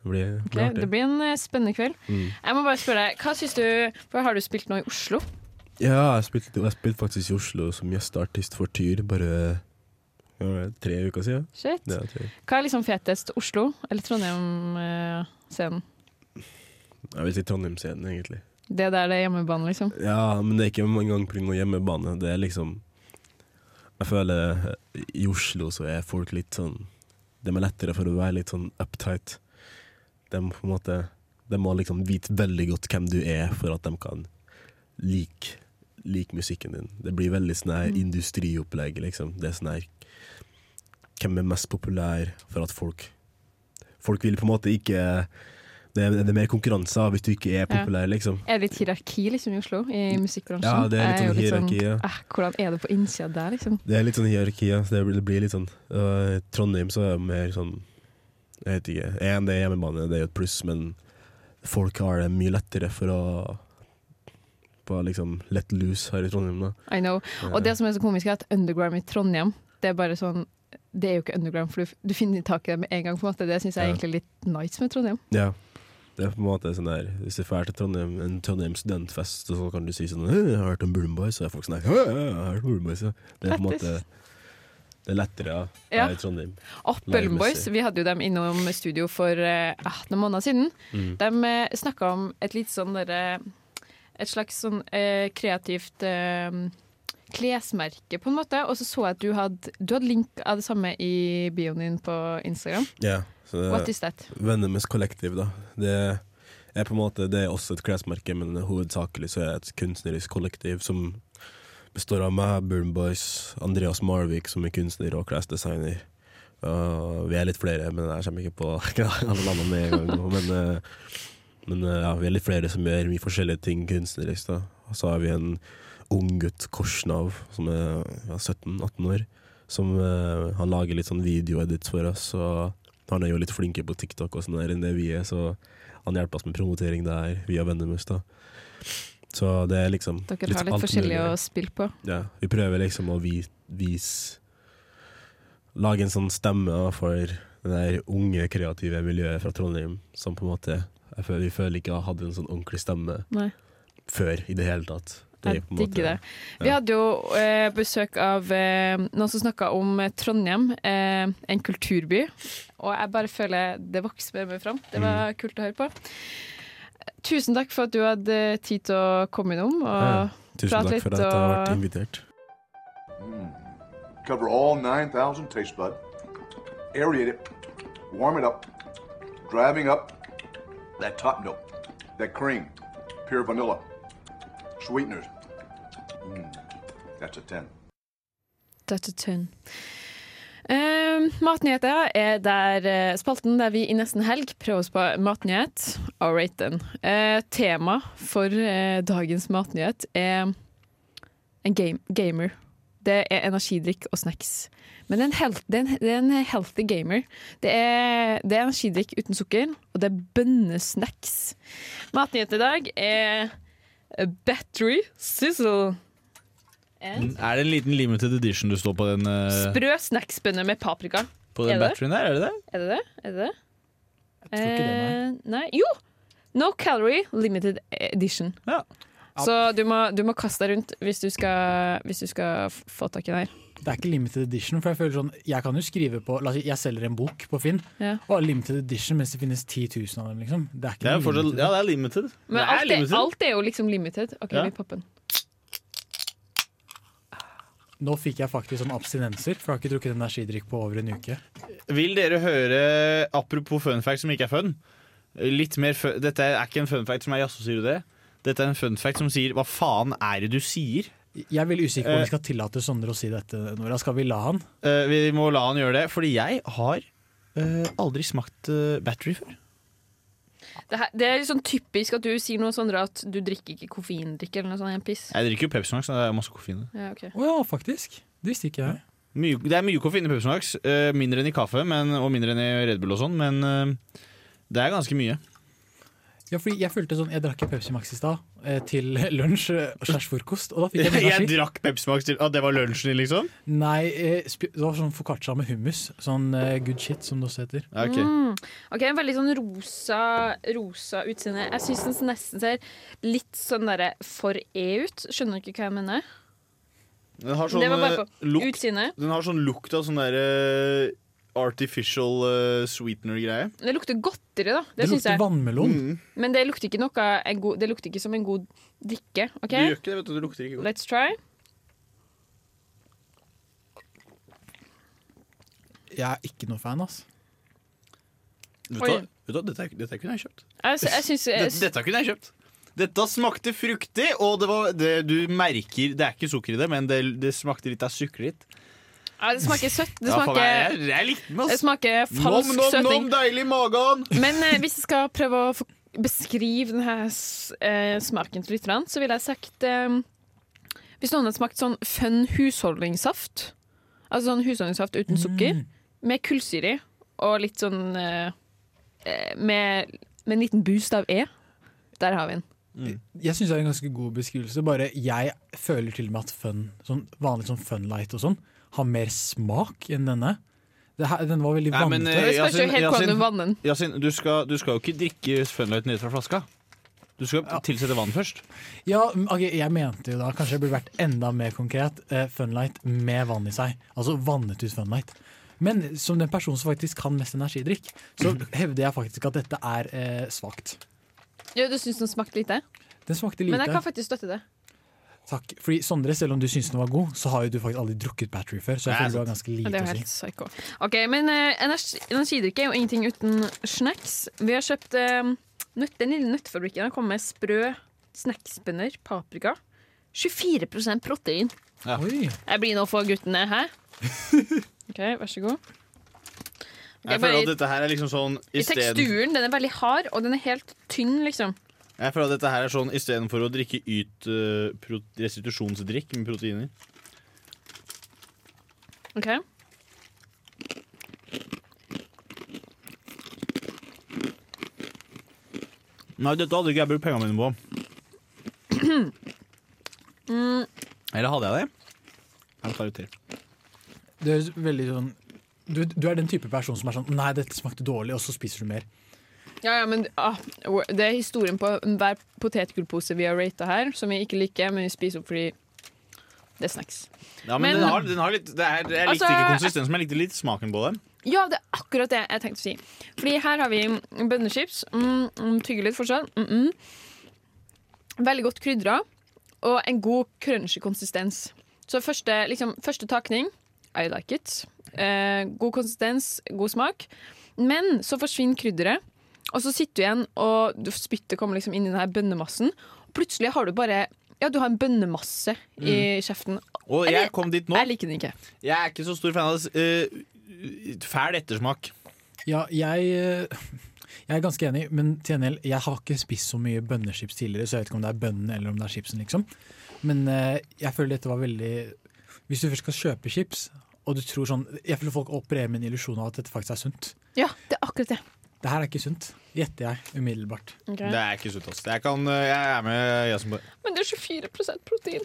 N: det blir, det
H: Ok,
N: blir
H: det
N: artig.
H: blir en eh, spennende kveld.
N: Mm.
H: Jeg må bare spørre deg, hva syns du For har du spilt nå i Oslo?
N: Ja, jeg spilte, jeg spilte faktisk i Oslo som gjesteartist for Tyr bare hva var det, tre uker siden.
H: Shit.
N: Ja, tre.
H: Hva er liksom fetest? Oslo eller eh, Trondheim-scenen?
N: Jeg vil si Trondheimsscenen, egentlig.
H: Det der det er hjemmebane, liksom.
N: Ja, men det er ikke engang pga. hjemmebane. Det er liksom Jeg føler eh, i Oslo så er folk litt sånn De er lettere for å være litt sånn uptight. De på en måte De må liksom vite veldig godt hvem du er for at de kan like like musikken din. Det blir veldig sånn her
O: Mm.
N: industriopplegg, liksom. Det er sånn her Hvem er mest populær for at folk Folk vil på en måte ikke Det er, det er mer konkurranser hvis du ikke er
H: Ja.
N: populær, liksom.
H: Er det litt hierarki liksom, i Oslo, i musikkbransjen?
N: Ja, det er litt
H: Jeg jo
N: sånn hierarki, ja.
H: eh, hvordan er det på innsida der, liksom?
N: Det er litt sånn hierarki, ja. så det blir- det blir litt sånn øh, I Trondheim så er det mer sånn Jeg vet ikke. Én, det er hjemmebane, det er jo et pluss, men folk har det mye lettere for å På liksom let loose her i Trondheim, da.
H: I know. Og det som er så komisk, er at underground i Trondheim, det er bare sånn Det er jo ikke underground, for du, du finner tak i det med en gang. på en måte Det syns jeg
N: Ja.
H: egentlig er litt nice med Trondheim.
N: Ja. Det er på en måte sånn der Hvis du drar til Trondheim, en Trondheim studentfest, og så kan du si sånn «Hei, 'Jeg har hørt om Bullen Boys', og er folk sånn her, «Hei, jeg har hørt om Bullen Boys', ja. Det er på en måte
H: Lættis.
N: Det er lettere ja,
H: Ja.
N: her i Trondheim.
H: Appeln Boys,
N: Live-messig.
H: vi hadde jo dem innom studio for eh, ah, noen måneder siden.
N: Mm.
H: De eh, snakka om et litt sånn derre Et slags sånn eh, kreativt eh, klesmerke, på en måte. Og så så jeg at du hadde, du hadde link av det samme i bioen din på Instagram.
N: Ja, så det er
H: What is that?
N: Venemus Kollektiv, da. Det er på en måte Det er også et klesmerke, men hovedsakelig så er det et kunstnerisk kollektiv som består av meg, Burn Boys, Andreas Marvik, som er kunstner og klesdesigner. Uh, vi er litt flere, men jeg kommer ikke på alle landene med en gang. nå, Men, eh, men eh, ja, vi er litt flere som gjør mye forskjellige ting kunstnerisk. da. Og så har vi en ung gutt, Korsnav, som er ja, 17-18 år. Som eh, Han lager litt sånn videoedits for oss, og han er jo litt flinkere på TikTok og sånn der enn det vi er, så han hjelper oss med promotering der via Venemus. da. Så det er liksom
H: Dere har
N: alt
H: litt forskjellig
N: mulig.
H: å spille på.
N: Ja, vi prøver liksom å vi- vise Lage en sånn stemme da, for det der unge, kreative miljøet fra Trondheim som på en måte jeg føler, Vi føler ikke hadde en sånn ordentlig stemme
H: Nei.
N: før i det hele tatt. Det er
H: Jeg
N: på en måte-
H: digger det. Vi hadde jo eh, besøk av eh, noen som snakka om eh, Trondheim, eh, en kulturby. Og jeg bare føler det vokser mer og mer fram. Det
N: Mm.
H: var kult å høre på. Tusen takk for at du hadde tid til å komme innom og
N: Ja, Tusen
H: prate
N: takk
H: litt.
N: for at jeg har vært
H: og-
N: invitert.
O: Cover all 9,000 taste bud. Aerate it. Warm it up. Driving up that top note, that cream, pure vanilla, sweeteners. Mm, that's a 10.
H: That's a ten. Eh, matnyheter er der eh, spalten der vi i nesten helg prøver oss på matnyhet. All right, then. Eh, tema for eh, dagens matnyhet er en game, gamer. Det er energidrikk og snacks. Men det er en, health, det er en, det er en healthy gamer. Det er, det er energidrikk uten sukker, og det er bønnesnacks. Matnyhet i dag er battery sizzle. And
J: Mm. Er det en liten limited edition du står på den, eh,
H: Sprø snacksbønner med paprika.
J: på den
H: er det?
J: batterien der? Er det det?
H: Er det det? Er det det? Jeg
J: tror ikke det,
H: nei. Jo! No calorie, limited edition. Så du må, du må kaste deg rundt hvis du skal, hvis du skal f- få tak i den her.
D: Det er ikke limited edition, for jeg føler sånn Jeg kan jo skrive på La oss si jeg selger en bok på Finn,
H: Ja.
D: og limited edition mens det finnes 10 000 av dem, liksom. Det er ikke
J: Det er jo
D: noe
J: fortsatt,
D: limited.
J: ja, det er limited.
H: Men
J: det er
H: alt, er,
J: limited.
H: alt er jo liksom limited. OK,
D: Ja.
H: vi popper den.
D: Nå fikk jeg faktisk sånn abstinenser, for jeg har ikke drukket energidrikk på over en uke.
J: Vil dere høre, apropos fun fact som ikke er fun Litt mer fun, Dette er ikke en fun fact som er jaså, sier du det? Dette er en fun fact som sier hva faen er det du sier?
D: Jeg er veldig usikker på
J: Eh.
D: om vi skal tillate Sondre å si dette, Nora. Skal vi la han?
J: Eh, vi må la han gjøre det, fordi jeg har eh, aldri smakt eh, battery før.
H: Det, her, det er litt sånn typisk at du sier noe sånn at du drikker ikke koffeindrikk eller noe sånt. en Piss.
J: Jeg drikker jo Pepsi Max, så det er masse koffein. i det.
H: Ja, ok.
D: Å ja, faktisk. Det visste ikke jeg.
J: Mye, det er mye koffein i Pepsi Max, eh, mindre enn i kaffe men, og mindre enn i Red Bull og sånn, men eh, det er ganske mye.
D: Ja, fordi jeg følte sånn, jeg drakk en Pepsi Max i stad, eh, til lunsj eh, slash frokost, og da fikk jeg sånn
J: Jeg,
D: energi.
J: drakk Pepsi Max til At det var lunsjen din, liksom?
D: Nei, eh, sp- det var sånn foccaccia med hummus. Sånn eh, good shit, som det også heter.
H: Mm. Ok, en veldig sånn rosa, rosa utseende. Jeg syns den nesten ser litt sånn derre for E ut. Skjønner ikke hva jeg mener.
J: Den har sånn,
H: Det var bare
J: eh,
H: på
J: lukt,
H: utsynet.
J: den har sånn lukt av sånn derre artificial eh, sweetener-greie.
H: Det lukter godteri, da. Det,
J: Det
H: syns
J: lukter
H: jeg.
J: vannmelon.
H: Men det lukter, ikke noe, en god, det lukter ikke som en god drikke. OK,
J: Det gjør ikke det, vet du. Det lukter ikke godt.
H: let's try.
D: Jeg er ikke noe fan, ass.
J: Vet du hva?
H: Oi.
J: Vet du hva? Dette, er- dette kunne jeg kjøpt.
H: Jeg sy- jeg syns- jeg
J: dette, dette kunne jeg kjøpt. Dette smakte fruktig, og det var det du merker Det er ikke sukker i det, men det, det smakte litt av sukkerlitt.
H: Nei, Det smaker søtt. Det
J: Ja, faen,
H: smaker,
J: jeg- jeg likte den, ass.
H: det smaker falsk
J: Nom, nom,
H: søting.
J: nom, deilig i magen!
H: Men eh, hvis jeg skal prøve å få- beskrive denne eh, smaken til lytterne, så ville jeg sagt eh, Hvis noen hadde smakt sånn fun husholdningssaft, altså sånn husholdningssaft uten
D: Mm.
J: Mm.
H: sukker, med kullsyre i, og litt sånn eh, eh, med, med en liten boost av E, der har vi den.
D: Jeg syns det er en ganske god beskrivelse. Bare jeg føler til og med at fun, sånn vanlig sånn funlight og sånn, har mer smak enn denne. Det her, den var veldig
J: Nei,
D: vannete.
J: men, eh, Yasin- Yasin- Yasin, du skal, du skal jo ikke drikke Funlight ned fra flaska. Du skal tilsette vann først.
D: Ja, men, ok, jeg mente jo da Kanskje jeg burde vært enda mer konkret. Eh, funlight med vann i seg. Altså vannet ut funlight. Men som den personen som faktisk kan mest energidrikk, så hevder jeg faktisk at dette er eh, svakt.
H: Ja, du syns den smakte lite?
D: Den smakte
H: Men jeg
D: lite.
H: kan faktisk støtte det.
D: Takk. Fordi Sondre, selv om du syns den var god, så har jo du faktisk aldri drukket battery før. Så jeg
H: Nei,
D: føler du har
H: sant.
D: ganske
H: Ja, det er
D: lite å
H: jo
D: si.
H: helt psyko. Ok, men eh, energi, energidrikke er jo ingenting uten snacks. Vi har kjøpt eh, nøtt, Den lille nøttfabrikken har kommet med sprø snacksbønner, paprika. 24 protein. Jeg blir nå for guttene, hæ? OK, vær så god. Ok, bare
J: Jeg føler at
H: i-
J: dette her er liksom sånn
H: I
J: isteden-
H: teksturen, den er veldig hard, og den er helt tynn, liksom.
J: Jeg føler at dette her er sånn istedenfor å drikke yt eh, pro- restitusjonsdrikk med proteiner.
H: OK?
J: Nei, dette hadde ikke jeg brukt pengene mine på.
H: mm,
J: Eller hadde jeg det? Jeg tar ut til.
D: Det høres veldig sånn du, du er den type person som er sånn Nei, dette smakte dårlig, og så spiser du mer.
H: Ja, ja, men ah, Det er historien på hver potetgullpose vi har rata her, som vi ikke liker, men vi spiser opp fordi det er snacks.
J: Ja, men,
H: Men-
J: den har, den har litt, det er, Jeg likte
H: Altså,
J: ikke konsistensen, men jeg likte litt smaken på den.
H: Ja, det er akkurat det jeg tenkte å si. Fordi her har vi bønnechips. Mm, mm, tygger litt fortsatt. Mm, mm. Veldig godt krydra. Og en god crunchy konsistens. Så første, liksom, første takning I like it. Eh, god konsistens, god smak. Men så forsvinner krydderet, og så sitter du igjen, og du- spyttet kommer liksom inn i den her bønnemassen. Og plutselig har du bare Ja, du har en bønnemasse i kjeften.
J: Og jeg kom dit Mm. nå.
H: Jeg liker den ikke.
J: Jeg er ikke så stor fan av uh, fæl ettersmak.
D: Ja, jeg eh, Jeg er ganske enig, men til en del, jeg har ikke spist så mye bønnechips tidligere, så jeg vet ikke om det er bønnen eller om det er chipsen, liksom. Men eh, jeg føler dette var veldig Hvis du først skal kjøpe chips, og du tror sånn Jeg føler folk opererer med en illusjon av at dette faktisk er sunt.
H: Ja, det er akkurat det.
D: Det her er ikke sunt, gjetter jeg umiddelbart.
H: Ok.
J: Det er ikke sunt. ass. Jeg, kan, eh, jeg er med Jason på det.
H: Men det er 24 protein.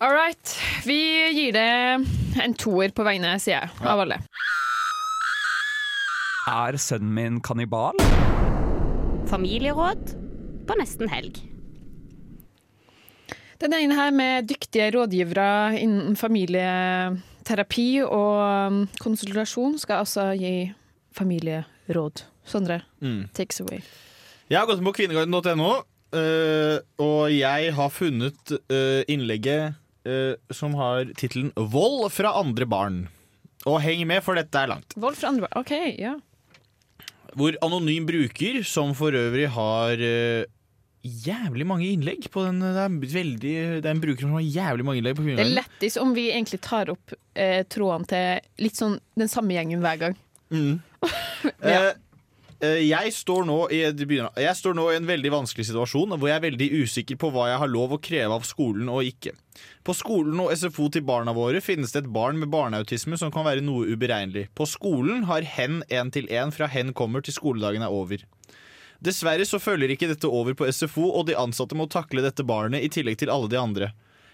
H: All right. Vi gir det en toer på vegne, sier jeg, av alle.
L: Er sønnen min kannibal?
P: Familieråd på nesten helg.
H: Den ene her med dyktige rådgivere innen familieterapi og um, konsultasjon skal altså gi familieråd. Sondre,
J: Mm.
H: takes away.
J: Jeg har gått inn på kvinneguiden.no, eh, og jeg har funnet eh, innlegget eh, som har tittelen 'Vold fra andre barn'. Og heng med, for dette er langt.
H: Vold fra andre barn. OK, ja.
J: Hvor anonym bruker, som for øvrig har eh, jævlig mange innlegg på den Det er, en veldig, det er en bruker som har jævlig mange innlegg på
H: Det er
J: kvinneguiden.
H: lettest om vi egentlig tar opp eh, trådene til litt sånn den samme gjengen hver gang.
J: Mm. Eh, eh, jeg, står nå i, det begynner- jeg står nå i en veldig vanskelig situasjon hvor jeg er veldig usikker på hva jeg har lov å kreve av skolen og ikke. På skolen og SFO til barna våre finnes det et barn med barneautisme som kan være noe uberegnelig. På skolen har hen én til én fra hen kommer til skoledagen er over. Dessverre så følger ikke dette over på SFO, og de ansatte må takle dette barnet i tillegg til alle de andre.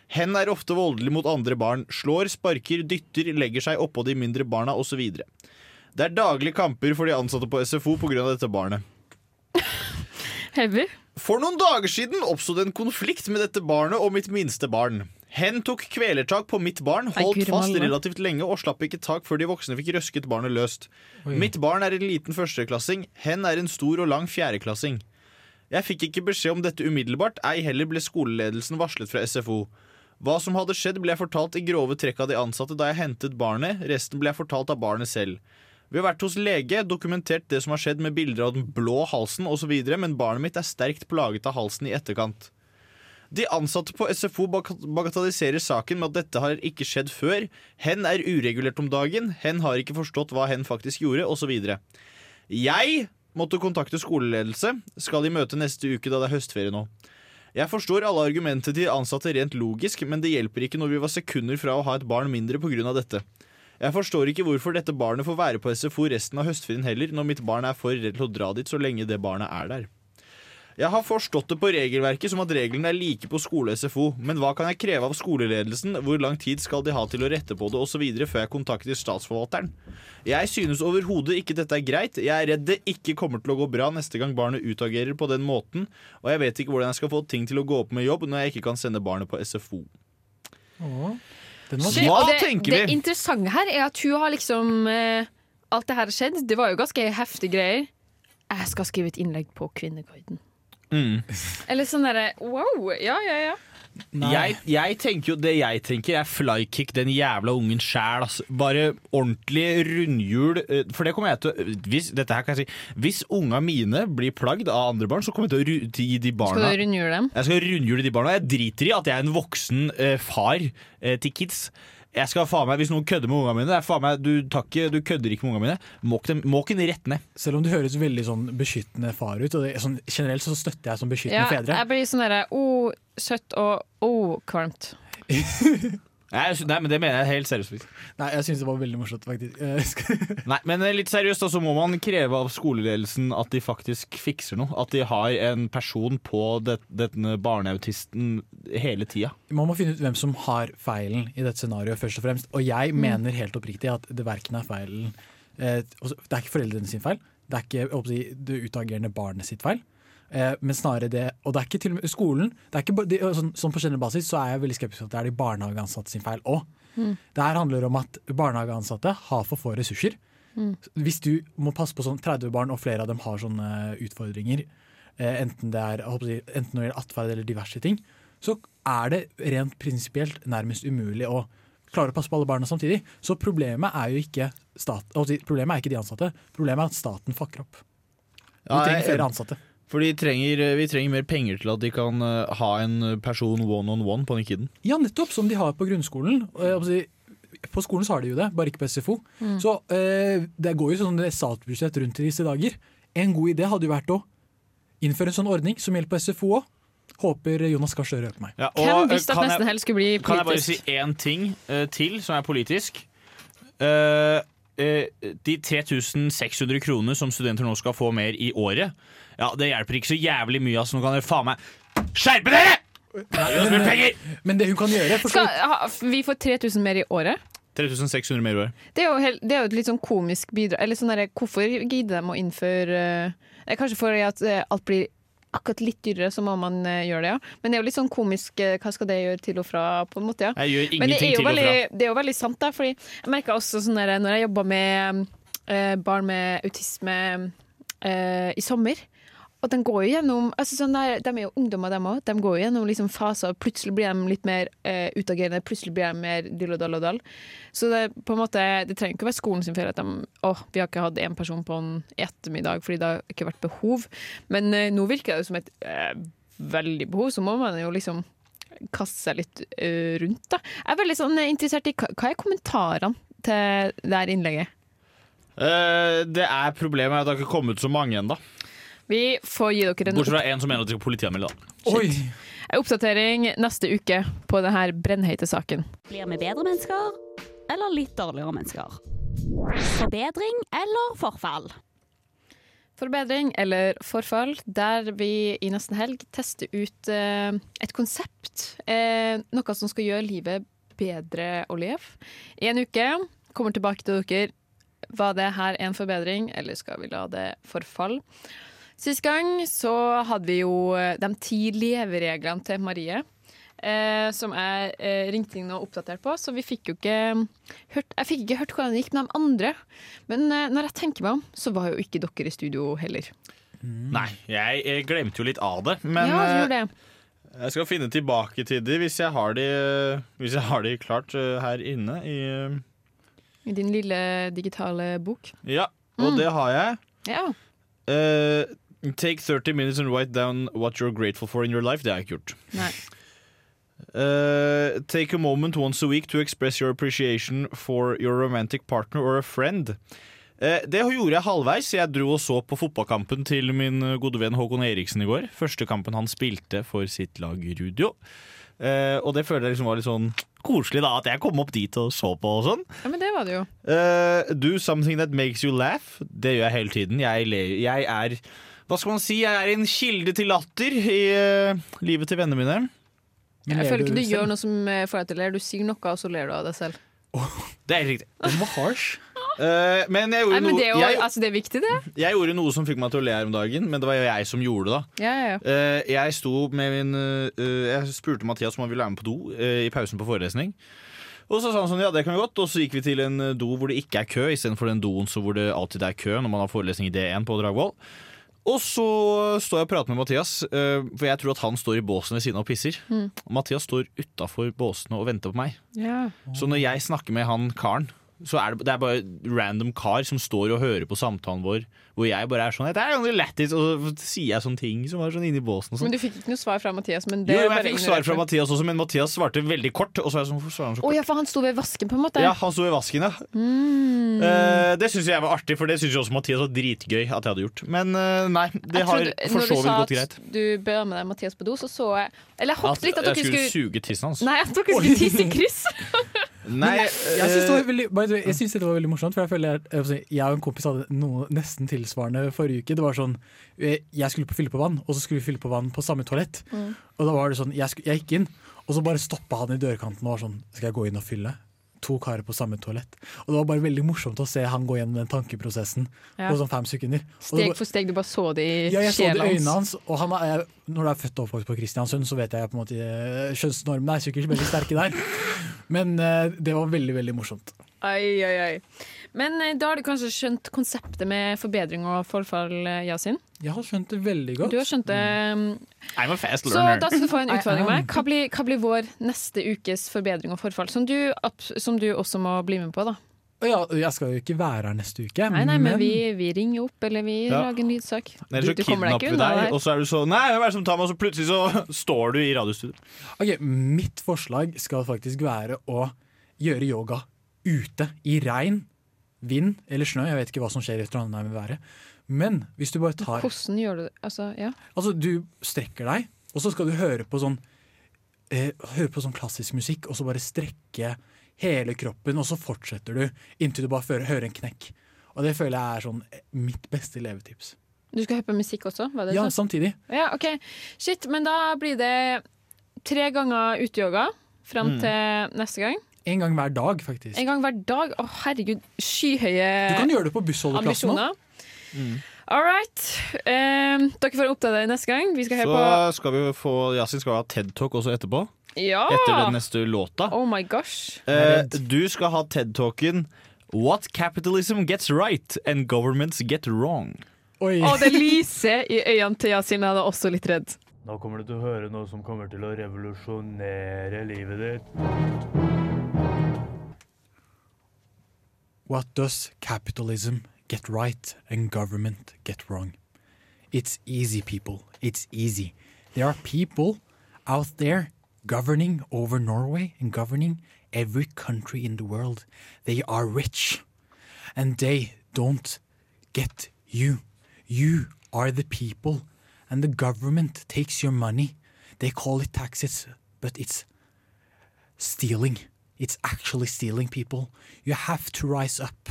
J: Hen er ofte voldelig mot andre barn, slår, sparker, dytter, legger seg oppå de mindre barna osv. Det er daglige kamper for de ansatte på SFO pga. dette barnet.
H: Heavy.
J: For noen dager siden oppstod en konflikt med dette barnet og mitt minste barn. Hen tok kvelertak på mitt barn, holdt
L: guri
J: fast
L: malla.
J: relativt lenge og slapp ikke tak før de voksne fikk røsket barnet løst.
L: Oi.
J: Mitt barn er en liten førsteklassing, hen er en stor og lang fjerdeklassing. Jeg fikk ikke beskjed om dette umiddelbart, ei heller ble skoleledelsen varslet fra SFO. Hva som hadde skjedd ble jeg fortalt i grove trekk av de ansatte da jeg hentet barnet, resten ble jeg fortalt av barnet selv. Vi har vært hos lege, dokumentert det som har skjedd med bilder av den blå halsen osv., men barnet mitt er sterkt plaget av halsen i etterkant. De ansatte på SFO bag- bagatelliserer saken med at dette har ikke skjedd før. Hen er uregulert om dagen, hen har ikke forstått hva hen faktisk gjorde, osv. Jeg måtte kontakte skoleledelse, skal i møte neste uke da det er høstferie nå. Jeg forstår alle argumentene til de ansatte rent logisk, men det hjelper ikke når vi var sekunder fra å ha et barn mindre pga. dette. Jeg forstår ikke hvorfor dette barnet får være på SFO resten av høstferien heller, når mitt barn er for redd til å dra dit så lenge det barnet er der. Jeg har forstått det på regelverket som at reglene er like på skole og SFO, men hva kan jeg kreve av skoleledelsen, hvor lang tid skal de ha til å rette på det osv. før jeg kontakter statsforvalteren? Jeg synes overhodet ikke dette er greit, jeg er redd det ikke kommer til å gå bra neste gang barnet utagerer på den måten, og jeg vet ikke hvordan jeg skal få ting til å gå opp med jobb når jeg ikke kan sende barnet på SFO.
D: Åh.
J: Den var-
H: Shit,
J: Hva
H: og det,
J: tenker
H: det
J: vi?
H: interessante her er at hun har liksom eh, Alt det her har skjedd. Det var jo ganske heftige greier. Jeg skal skrive et innlegg på Kvinnekorden.
J: Mm.
H: Eller sånn derre wow! Ja, ja, ja.
J: Jeg, jeg tenker jo Det jeg tenker, er flykick den jævla ungen sjæl. Altså. Bare ordentlig rundhjul. eh, For det kommer jeg til å hvis, Dette her kan jeg si. Hvis unga mine blir plagd av andre barn, så kommer jeg til å ru- til å gi de barna
H: Skal du rundgjøre dem?
J: Jeg skal rundhjule de barna. Jeg driter i at jeg er en voksen eh, far eh, til kids. Jeg skal faen meg, Hvis noen kødder med ungene mine det er faen meg, du, tar ikke- du kødder ikke med ungene mine. Måk dem, måk dem rett ned.
D: Selv om du høres veldig sånn beskyttende far ut, og det, sånn, generelt så støtter jeg som beskyttende
H: ja
D: fedre.
H: jeg blir sånn derre oh, søtt og oh, kvalmt.
J: Nei, jeg sy- nei, men det mener jeg helt seriøst.
D: Nei, jeg syns det var veldig morsomt, faktisk. Eh, skal-
J: Nei, men eh, litt seriøst da, så må man kreve av skoleledelsen at de faktisk fikser noe. At de har en person på det, denne barneautisten hele tida.
D: Man må finne ut hvem som har feilen i dette scenarioet, først og fremst. Og jeg
J: Mm.
D: mener helt oppriktig at det verken er feilen eh, altså, Det er ikke foreldrene sin feil. Det er ikke jeg håper å si, det utagerende barnet sitt feil. Eh, men snarere det Og det er ikke til og med skolen. Det er ikke, ba- de, sånn, sånn på generell basis så er jeg veldig skeptisk til at det er de barnehageansatte sin feil òg.
P: Mm.
D: Det her handler om at barnehageansatte har for få ressurser.
P: Mm.
D: Hvis du må passe på sånn 30 barn, og flere av dem har sånne utfordringer, eh, enten det er jeg håper å si, enten når det gjelder atferd eller diverse ting, så er det rent prinsipielt nærmest umulig å klare å passe på alle barna samtidig. Så problemet er jo ikke, stat, jeg holdt på å si, problemet er ikke de ansatte, problemet er at staten fucker opp. Vi
J: Ja,
D: trenger
J: jeg-
D: flere ansatte.
J: For de trenger, eh, vi trenger mer penger til at de kan eh, ha en person one on one på den kiden.
D: Ja, nettopp, som de har på grunnskolen. Og jeg holdt på å si, På skolen så har de jo det, bare ikke på SFO.
P: Mm.
D: Så eh, det går jo sånn statsbudsjett rundt i disse dager. En god idé hadde jo vært å innføre en sånn ordning som gjelder på SFO òg. Håper Jonas Gahr Støre hjelper meg.
J: Ja, eh,
H: Hvem visste at nesten helst skulle bli
J: Kan jeg bare si
H: politisk?
J: én ting eh, til som er politisk? Eh, eh, de 3600 kroner som studenter nå skal få mer i året, ja, det hjelper ikke så jævlig mye. Altså, nå kan dere faen meg skjerpe dere! Gi oss mer penger!
D: Men det hun kan gjøre
H: Skal, ha, vi får 3000 mer i året.
J: 3600 mer i året.
H: Det er jo, hel- det er jo et litt sånn komisk bidrag. Eller sånn derre, hvorfor gidder de å innføre eh, Kanskje fordi at eh, alt blir akkurat litt dyrere, så må man eh, gjøre det, ja. Men det er jo litt sånn komisk eh, hva skal det gjøre til og fra, på en måte, ja.
J: Jeg
H: Men
J: gjør
H: det
J: ingenting
H: er jo
J: til og
H: veldig, det er jo veldig sant, da. Fordi jeg merka også sånn der, når jeg jobba med eh, barn med autisme eh, i sommer. Og de går jo gjennom altså sånn der, De er jo ungdommer, dem òg. De går jo gjennom liksom faser. Plutselig blir de litt mer eh, utagerende. Plutselig blir de mer dill og dall og dall. Så det, er på en måte, det trenger ikke å være skolen sin feil at de Å, vi har ikke hatt én person på en ettermiddag fordi det har ikke vært behov. Men eh, nå virker det jo som et eh, veldig behov, så må man jo liksom kaste seg litt eh, rundt. Da. Jeg er veldig sånn eh, interessert i hva, hva er kommentarene til det her innlegget.
J: Eh, det er problemet er at det har ikke kommet så mange ennå.
H: Vi får gi dere en,
J: Bortsett fra en som mener at de skal politianmelde. da.
H: en oppdatering neste uke på denne brennheite saken.
Q: Blir vi bedre mennesker, eller litt dårligere mennesker? Forbedring eller forfall?
H: Forbedring eller forfall, der vi i nesten helg tester ut eh, et konsept. Eh, noe som skal gjøre livet bedre å leve. I en uke kommer tilbake til dere. Var det her en forbedring, eller skal vi la det forfall? Sist gang så hadde vi jo eh, de ti levereglene til Marie. Eh, som jeg eh, ringte inn og oppdaterte på, så vi fikk jo ikke hørt Jeg fikk ikke hørt hvordan det gikk med de andre. Men eh, når jeg tenker meg om, så var jo ikke dere i studio heller.
J: Nei, jeg, eh, glemte jo litt av det. Men
H: ja, du
J: eh,
H: gjorde det.
J: Jeg skal finne tilbake til de hvis jeg har de, eh, hvis jeg har de klart eh, her inne. I, eh,
H: I din lille digitale bok.
J: ja, og
H: Mm.
J: det har jeg.
H: Ja.
J: Eh, take 30 minutes and write down what you're grateful for in your life. Det har jeg ikke gjort.
H: Nei.
J: Uh, take a moment once a week to express your appreciation for your romantic partner or a friend. Eh, Det gjorde jeg halvveis. Jeg dro og så på fotballkampen til min gode venn Håkon Eriksen i går. Første kampen han spilte for sitt lag Rudio. Eh, og det føler jeg liksom var litt sånn koselig, da. At jeg kom opp dit og så på og sånn.
H: Ja, men det var det jo.
J: Eh, do something that makes you laugh. Det gjør jeg hele tiden. Jeg, le, jeg er Hva skal man si? Jeg er en kilde til latter i eh, livet til vennene mine.
H: Jeg føler ikke du gjør noe som eh, får deg til å le. Du sier noe, og så ler du av deg selv.
J: Det er helt riktig. Den var harsh. Eh, men jeg gjorde,
H: Nei, men det, er jo,
J: noe, jeg,
H: altså, det er viktig, det.
J: jeg gjorde noe som fikk meg til å le her om dagen, men det var jo jeg som gjorde det. da
H: Ja, ja, ja.
J: Eh, jeg sto med min eh, Jeg spurte Mathias om han ville være med på do eh, i pausen på forelesning. Og så sa han sånn, ja det kan vi godt Og så gikk vi til en eh, do hvor det ikke er kø, istedenfor den doen så hvor det alltid er kø når man har forelesning i D1 på Dragvoll. Og så står jeg og prater med Mathias, eh, for jeg tror at han står i båsen ved siden av og pisser.
H: Mm.
J: Og Mathias står utafor båsene og venter på meg.
H: Ja.
J: Så når jeg snakker med han karen så er det, det er bare random kar som står og hører på samtalen vår, hvor jeg bare er sånn "Det er jo lættis", Og så sier jeg sånne ting som er sånn inni båsen. Og sånn.
H: Men du fikk ikke noe svar fra Mathias? Men
J: Jo,
H: det
J: jo,
H: er
J: jeg
H: bare
J: fikk svar
H: ignorert
J: fra
H: meg.
J: Mathias også, men Mathias svarte veldig kort. Og så er jeg sånn, hvorfor svarer han
H: Å
J: så kort?
H: ja, for han sto ved vasken, på en måte?
J: Ja, han sto i vasken, ja.
H: Mm.
J: Eh, det syns jeg var artig, for det syns jo også Mathias var dritgøy at jeg hadde gjort. Men eh, nei, det
H: Jeg
J: har
H: trodde-
J: for
H: Når
J: så vidt
H: du
J: gått
H: sa at
J: greit. Altså,
H: du bør med deg Mathias på do, så så jeg Eller jeg håpet
J: jeg
H: litt at dere
J: skulle
H: skulle
J: suge tissen hans.
H: Nei, at dere skulle tisse i kryss!
J: Nei,
D: Jeg syns det, var
J: eh,
D: veldig- by the way, jeg synes dette var veldig morsomt, for jeg føler jeg, jeg, vil si, jeg og en kompis hadde noe nesten tilsvarende forrige uke. Det var sånn, eh, Jeg skulle på fylle på vann, og så skulle vi fylle på vann på samme toalett.
H: Mm.
D: Og da var det sånn, jeg, sku- jeg gikk inn, og så bare stoppa han i dørkanten og var sånn Skal jeg gå inn og fylle? To karer på samme toalett. Og det var bare veldig morsomt å se han gå gjennom den tankeprosessen
H: Ja.
D: på sånn fem sekunder. Og det
H: Steg
D: var-
H: for steg, du bare så det i
D: ja, jeg så det
H: sjela
D: i øynene hans, og han er, jeg- når du er født og oppvokst på Kristiansund, så vet jeg på en måte eh, Kjønnsnormene er sikkert veldig sterke der, men eh, det var veldig, veldig morsomt.
H: Ai, ai, ai. Men eh, da har du kanskje skjønt konseptet med forbedring og forfall, eh, Yasin?
D: Jeg har skjønt det veldig godt.
H: Du har skjønt det. mm.
J: I'm a fast
H: Så
J: learner.
H: da skal du få en
J: I
H: utfordring
J: am.
H: med. Hva blir, hva blir vår neste ukes forbedring og forfall, som du, abs- som du også må bli med på, da?
D: Og Mm. ja, jeg skal jo ikke være her neste uke,
H: Nei, nei, men vi, vi ringer jo opp, eller vi
J: Ja.
H: lager en lydsak.
J: Eller så kidnapper vi deg, og så er du sånn Nei, hvem er det som tar meg? Og så plutselig så står du i radiostudio.
D: Ok, Mitt forslag skal faktisk være å gjøre yoga ute i regn, vind eller snø. Jeg vet ikke hva som skjer i Trondheim med været. Men hvis du bare tar
H: Hvordan gjør du det? Altså, ja.
D: Altså, du strekker deg, og så skal du høre på sånn eh, Høre på sånn klassisk musikk, og så bare strekke hele kroppen, og så fortsetter du inntil du bare fører, hører en knekk. Og det føler jeg er sånn eh, mitt beste levetips.
H: Du skal høre på musikk også? Var det
D: Ja,
H: det?
D: samtidig.
H: Ja, ok. Shit, men da blir det tre ganger uteyoga fram
D: Mm.
H: til neste gang.
D: En gang hver dag, faktisk.
H: En gang hver dag. Å, herregud. Skyhøye
D: Du kan gjøre det på bussholdeplassen
H: ambisjoner.
D: òg. Mm.
H: All right. Eh, dere får oppdatere neste gang. Vi skal høre
J: Så skal vi få Yasin skal ha TED Talk også etterpå.
H: på Ja!
J: Etter den neste låta.
H: Oh my gosh.
J: Eh, du skal ha TED-talken What capitalism gets right and governments get wrong.
D: Oi.
H: Og det lyser i øynene til Yasin. Jeg er også litt redd.
P: Nå kommer du til å høre noe som kommer til å revolusjonere livet ditt.
D: What does capitalism get right and government get wrong? It's easy, people. It's easy. There are people out there governing over Norway and governing every country in the world. They are rich and they don't get you. You are the people, and the government takes your money. They call it taxes, but it's stealing. It's actually stealing people. You have to rise up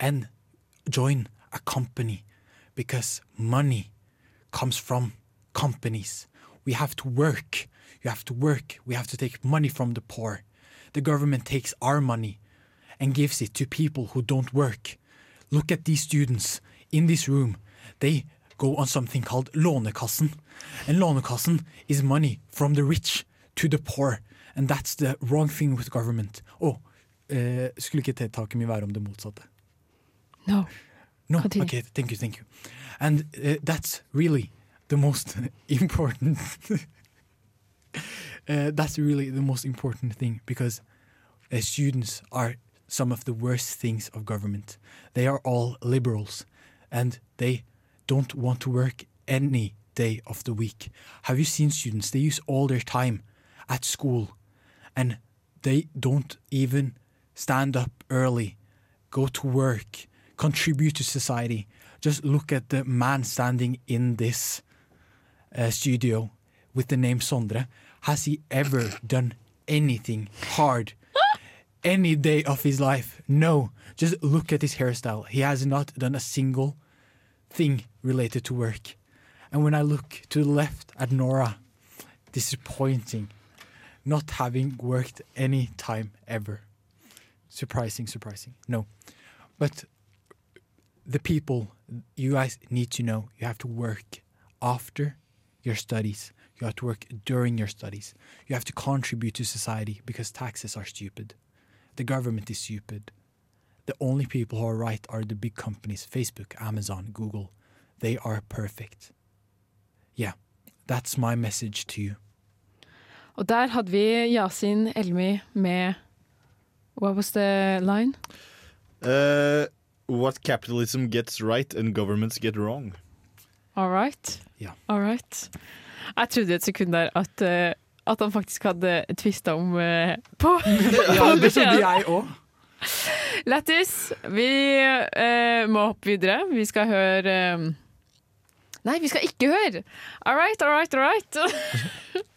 D: and join a company because money comes from companies. We have to work. You have to work. We have to take money from the poor. The government takes our money and gives it to people who don't work. Look at these students in this room. They go on something called Lånekassen. And Lånekassen is money from the rich to the poor. And that's the wrong thing with government. Oh, eh, skulle ikke tiltaket mitt være om det motsatte?
H: No.
D: No, okay, thank you, thank you. And uh, that's really the most important. uh, that's really the most important thing because uh, students are some of the worst things of government. They are all liberals and they don't want to work any day of the week. Have you seen students? They use all their time at school and they don't even stand up early, go to work, contribute to society. Just look at the man standing in this uh, studio with the name Sondre. Has he ever done anything hard any day of his life? No. Just look at his hairstyle. He has not done a single thing related to work. And when I look to the left at Nora, disappointing. Not having worked any time ever. Surprising, surprising. No. But the people you guys need to know you have to work after your studies. You have to work during your studies. You have to contribute to society because taxes are stupid. The government is stupid. The only people who are right are the big companies Facebook, Amazon, Google. They are perfect. Yeah, that's my message to you.
H: Og der hadde vi Yasin Elmi med What was the line?
J: Uh, what capitalism gets right and governments get wrong.
H: All right.
D: Ja.
H: All right. Jeg trodde et sekund der at, eh, at han faktisk hadde tvista om eh, på, på
D: Ja, det trodde
H: beskjeden.
D: jeg òg.
H: Lættis, vi eh, må hoppe videre. Vi skal høre eh, Nei, vi skal ikke høre! All right, all right, all right.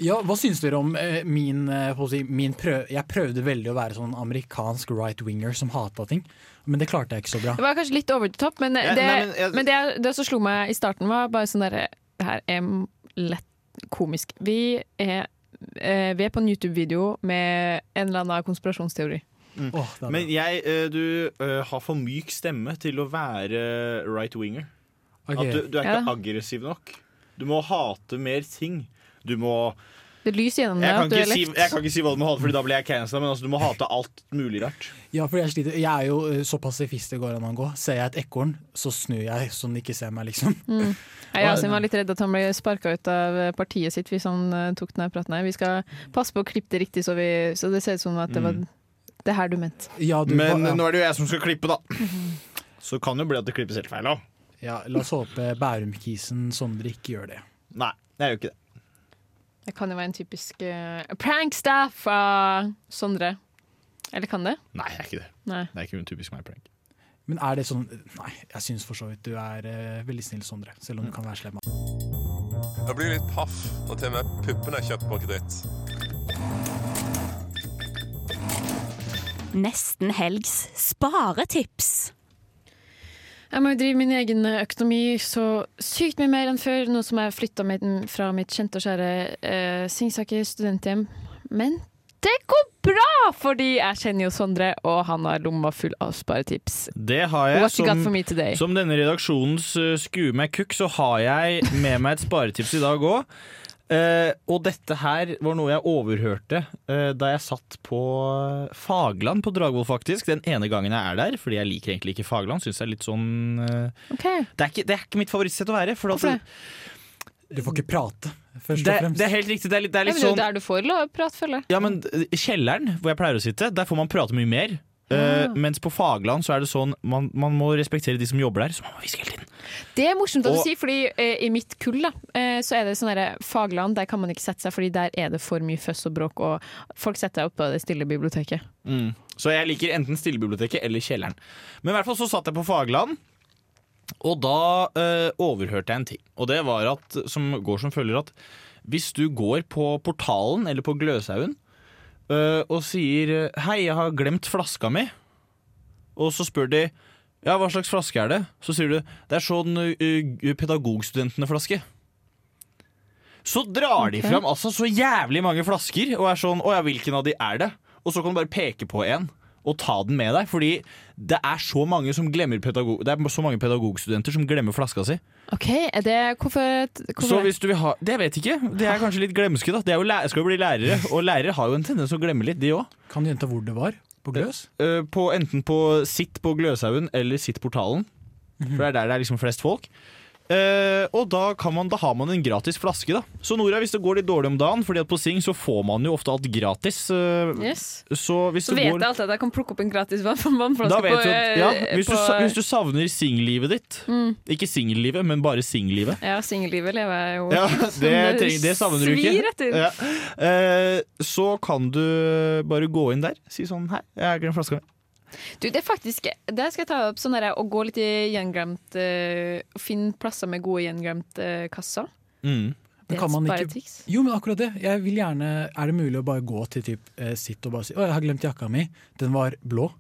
D: Ja, hva syns dere om eh, min, eh, hva skal jeg si, min prøv... Jeg prøvde veldig å være sånn amerikansk right-winger som hata ting, men det klarte jeg ikke så bra.
H: Det var kanskje litt over the top, men, Eh,
D: Ja,
H: det,
D: nei,
H: men,
D: men jeg-
J: eh,
H: det, det som slo meg i starten, var bare sånn derre Det her er lett komisk. Vi er, eh, vi er på en YouTube-video med en eller annen konspirasjonsteori.
J: Men jeg, eh, du eh, har for myk stemme til å være right-winger.
D: Ok.
J: At du, du er ikke
H: Ja.
J: aggressiv nok. Du må hate mer ting. Du må
H: Det lyser gjennom
J: jeg
H: deg
J: kan,
H: at du
J: ikke
H: er
J: si,
H: lekt.
J: jeg kan ikke si hva du må hate, Fordi da blir jeg cancela, men altså, du må hate alt mulig rart.
D: Ja, fordi jeg sliter. Jeg er jo eh, så pasifist det går an å gå. Ser jeg et ekorn, så snur jeg så den ikke ser meg, liksom.
H: Mm. Jeg Yasin var litt redd at han ble sparka ut av eh, partiet sitt hvis han eh, tok denne praten her. Vi skal passe på å klippe det riktig, så, vi, så det ser ut som at det var
J: Mm.
H: det her du mente.
D: Ja, du,
J: men
D: hva- ja.
J: nå er det jo jeg som skal klippe, da. Så kan det jo bli at det klippes helt feil òg.
D: Ja, la oss håpe Bærum-kisen Sondre ikke gjør det.
J: Nei, jeg gjør ikke det.
H: Det kan jo være en typisk uh, prankstaff fra Sondre. Eller kan det?
J: Nei, jeg er ikke det.
H: Nei.
J: Det er ikke en typisk meg-prank.
D: Men er det sånn Nei, jeg syns for så vidt du er eh, veldig snill, Sondre. Selv
J: Mm.
D: om du kan være slem.
R: Jeg blir litt paff når til og med puppene er kjøpt på kreditt.
Q: Nesten helgs sparetips.
H: Jeg må jo drive min egen eh, økonomi så sykt mye mer enn før, nå som jeg flytta fra mitt kjente og kjære eh, Singsaker studenthjem. Men det går bra, fordi jeg kjenner jo Sondre, og han har lomma full av sparetips.
J: Det har jeg.
H: What you got for me today?
J: som denne redaksjonens uh, skue meg kukk, så har jeg med meg et sparetips i dag òg. og dette her var noe jeg overhørte eh, da jeg satt på Fagland på Dragvoll, faktisk. Den ene gangen jeg er der, fordi jeg liker egentlig ikke Fagland. Synes jeg er litt sånn eh, det, er ikke, det er ikke mitt favorittsted å være. For at,
D: Du får ikke prate, først
J: Mm. det,
D: og fremst.
J: det er helt riktig. Det er litt, det er litt
H: Jeg mener,
J: sånn
H: Der du får lov å prate, føler jeg.
J: ja, men d- kjelleren hvor jeg pleier å sitte, der får man prate mye mer. Eh, mens på Fagland så er det sånn man, man må respektere de som jobber der. Så man må hviske hele tiden.
H: Det er morsomt at
J: Og-
H: du sier, fordi eh, i mitt kull da, eh, så er det sånn derre fagland, der kan man ikke sette seg, fordi der er det for mye føss og bråk, og folk setter seg opp på det stille biblioteket.
J: Mm. Så jeg liker enten stillebiblioteket eller kjelleren. Men i hvert fall så satt jeg på Fagland, og da eh, overhørte jeg en ting. Og det var at, som går som følger at hvis du går på Portalen eller på Gløshaugen eh, og sier 'hei, jeg har glemt flaska mi', og så spør de 'ja, hva slags flaske er det?' Så sier du 'det er sånn uh, pedagogstudentene-flaske'. Så drar de
L: Ok.
J: fram altså så jævlig mange flasker og er sånn 'Å ja, hvilken av de er det?' Og så kan du bare peke på en og ta den med deg. Fordi det er så mange, som glemmer pedagog, det er så mange pedagogstudenter som glemmer flaska si.
H: Ok, er det Hvorfor, hvorfor
J: Så hvis du vil ha Det vet jeg ikke. Det er kanskje litt glemske, da. Det er jo læ- skal jo bli lærere, og lærere har jo en tendens å glemme litt, de òg.
D: Kan du gjenta hvor det var? På Gløs?
J: Eh, På,
D: Mhm.
J: enten på Sitt på Gløshaugen eller Sitt Portalen. For det er der det er liksom flest folk. Eh, og da, kan man, da har man en gratis flaske, da. Så Nora, hvis det går litt dårlig om dagen, Fordi at på Sing så får man jo ofte alt gratis. eh,
H: Yes.
J: Så hvis
H: Så
J: det
H: vet
J: går
H: jeg alltid at jeg kan plukke opp en gratis vann- vannflaske
J: da vet
H: på,
J: du, at- ja,
H: eh,
J: hvis, du,
H: på
J: sa- hvis du savner singellivet ditt
H: Mm.
J: Ikke singellivet, men bare singellivet.
H: Ja, singellivet lever jeg jo
J: Ja,
H: som
J: det, treng, det savner du ikke.
H: Svir etter.
J: Ja. Eh, så kan du bare gå inn der, si sånn Hei, jeg har glemt flaska mi.
H: Du, det er faktisk Der skal jeg ta opp sånn derre å gå litt i gjenglemt eh, Å Finne plasser med gode gjenglemte kasser. Det
J: Mm,
D: Men
H: er
D: kan
H: et
D: man ikke,
H: sparetriks.
D: jo, men akkurat det. Jeg vil gjerne, er det mulig å bare gå til typ, eh, sitt og bare si 'Å, jeg har glemt jakka mi. Den var blå'.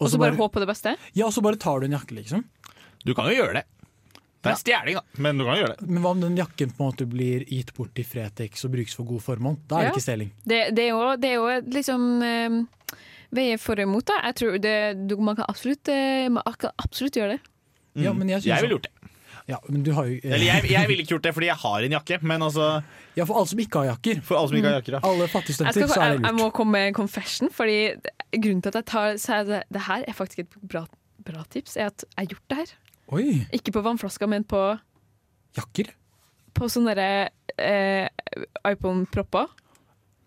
H: Og så bare håpe på det beste?
D: Ja, og så bare tar du en jakke, liksom.
J: Du kan jo gjøre det. Det er stjeling, da, men du kan gjøre det.
D: Men hva om den jakken på en måte blir gitt bort til Fretex og brukes for gode formål? Da er
H: Ja.
D: det ikke stjeling.
H: Det, det er jo, det er jo et liksom um, Veier for og imot, da. Jeg tror det, du, man, kan absolutt, eh, man kan absolutt gjøre det.
J: Mm.
D: Ja, men jeg, synes
J: jeg ville gjort det.
D: Ja, men du har jo eh,
J: Eller jeg, jeg ville ikke gjort det fordi jeg har en jakke, men altså
D: Ja, for alle som ikke har jakker.
J: For alle som ikke har
D: Mm.
J: jakker, ja.
D: Alle
H: Jeg,
D: fattigstudenter,
H: skal,
D: så er
H: jeg,
D: det
H: jeg
D: lurt.
H: må komme med en confession, fordi grunnen til at jeg tar så er det, det her er faktisk et bra, bra tips, er at jeg har gjort det her.
D: Oi,
H: Ikke på vannflaska, men på
D: Jakker?
H: På sånne derre, eh, iPhone-propper.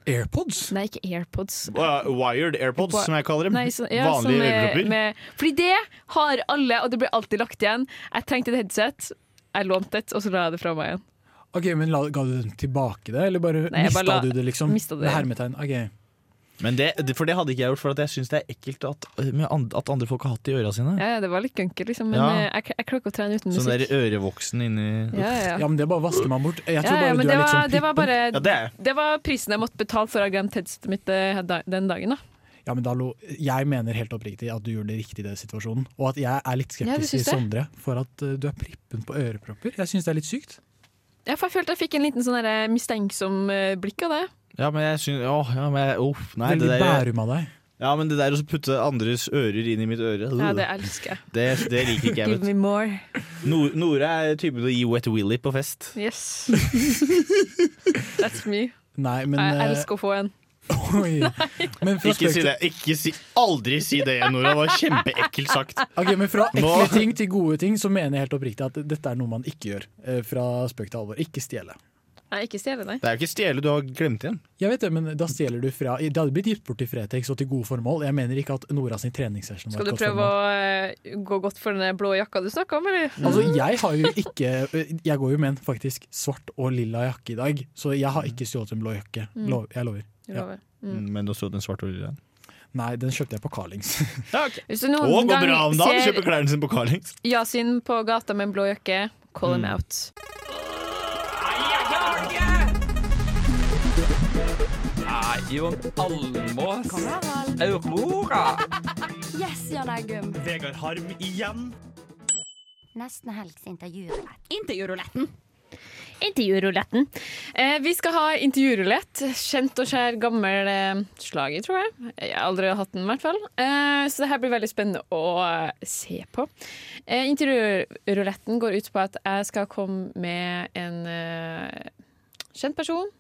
D: AirPods?
H: Nei, ikke AirPods.
J: Wa- Wired AirPods, som jeg kaller dem.
H: Mm. Nei, så, ja,
J: Vanlige
H: sånn, eh,
J: ørepropper.
H: med- Fordi det har alle, og det blir alltid lagt igjen. Jeg trengte et headset, jeg lånte et, og så la jeg det fra meg igjen.
D: Ok, men la, Ga du den tilbake det, eller bare
H: Nei, jeg
D: mista
H: bare la-
D: du det, liksom?
H: mista det.
D: Med hermetegn. Ok.
J: Men det, det- for det hadde ikke jeg gjort, for at jeg syns det er ekkelt at, med and- at andre folk har hatt det i øra sine.
H: Ja, ja, det var litt gunky, liksom, men
J: Ja.
H: eh, jeg, jeg klarer ikke å trene uten
J: Sånn der
H: musikk.
J: ørevoksen inni
H: Ja, ja. Ja,
D: men det bare vasker man bort. Jeg
H: Ja, ja, men det var,
D: sånn
H: det var bare
J: sånn Ja, det er jeg.
H: det var prisen jeg måtte betale for å ha glemt headsetet mitt eh, da- den dagen, da.
D: Ja, men da lo, jeg mener helt oppriktig at du gjorde det riktig i den situasjonen. Og at jeg er litt
H: Ja, det
D: skeptisk til
H: syns jeg.
D: Sondre for at eh, du er prippen på ørepropper. Jeg syns det er litt sykt.
H: Ja, for jeg følte jeg fikk en liten sånn der, eh, mistenksom eh, blikk av det.
J: Ja, men jeg syns Åh, ja, men jeg, uff, nei,
D: Veldig
J: det der,
D: Bærum av deg.
J: Ja, men det der å putte andres ører inn i mitt øre
H: Ja, det elsker jeg.
J: det, det liker ikke Uh. jeg, vet du.
H: more.
J: Nor- Nora er typen til å gi wet willy på fest.
H: Yes. That's me.
D: Nei, men
H: jeg
D: eh,
H: elsker å få en.
D: Oi. Men fra
J: Ikke si
D: spøk til-
J: det. Ikke si, aldri si det igjen, Nora. Det var kjempeekkelt sagt.
D: Ok, men Fra ekle
J: Nå-
D: ting til gode ting så mener jeg helt oppriktig at dette er noe man ikke gjør. eh, Fra spøk til alvor. Ikke stjele.
H: Nei, ikke stjele, nei.
J: Det er jo ikke stjele, du har glemt igjen.
D: Jeg vet Det men da stjeler du fra Det hadde blitt gitt bort til Fretex og til gode formål. Jeg mener ikke at Nora sin treningssession var
H: Skal du
D: et godt
H: prøve
D: formål.
H: å eh, gå godt for den blå jakka du snakka om, eller? Mm,
D: Altså, jeg har jo ikke eh, Jeg går jo med en faktisk svart og lilla jakke i dag, så jeg har ikke stjålet en blå jakke.
H: Mm.
D: Lov, jeg lover. Ja.
J: Men du har stått en svart og lilla.
D: Nei, den kjøpte jeg på Carlings.
H: Hvis du noen
J: Å, går
H: gang
J: bra om dagen!
H: ser-
J: Kjøper klærne sine på Carlings.
H: Yasin på gata med en blå jakke, call him
J: Mm.
H: out.
L: Nei, Jon Almås.
G: Karneval.
L: Aurora.
G: Yes, Jan Eggum.
L: Vegard Harm igjen.
G: Nesten helgs intervjurulett.
Q: Intervjuruletten.
H: Intervjuruletten. Eh, vi skal ha intervjurulett. Kjent og skjær gammel eh, slager, tror jeg. Jeg har aldri hatt den, i hvert fall. Eh, så det her blir veldig spennende å eh, se på. Eh, intervjuruletten går ut på at jeg skal komme med en eh, kjent person.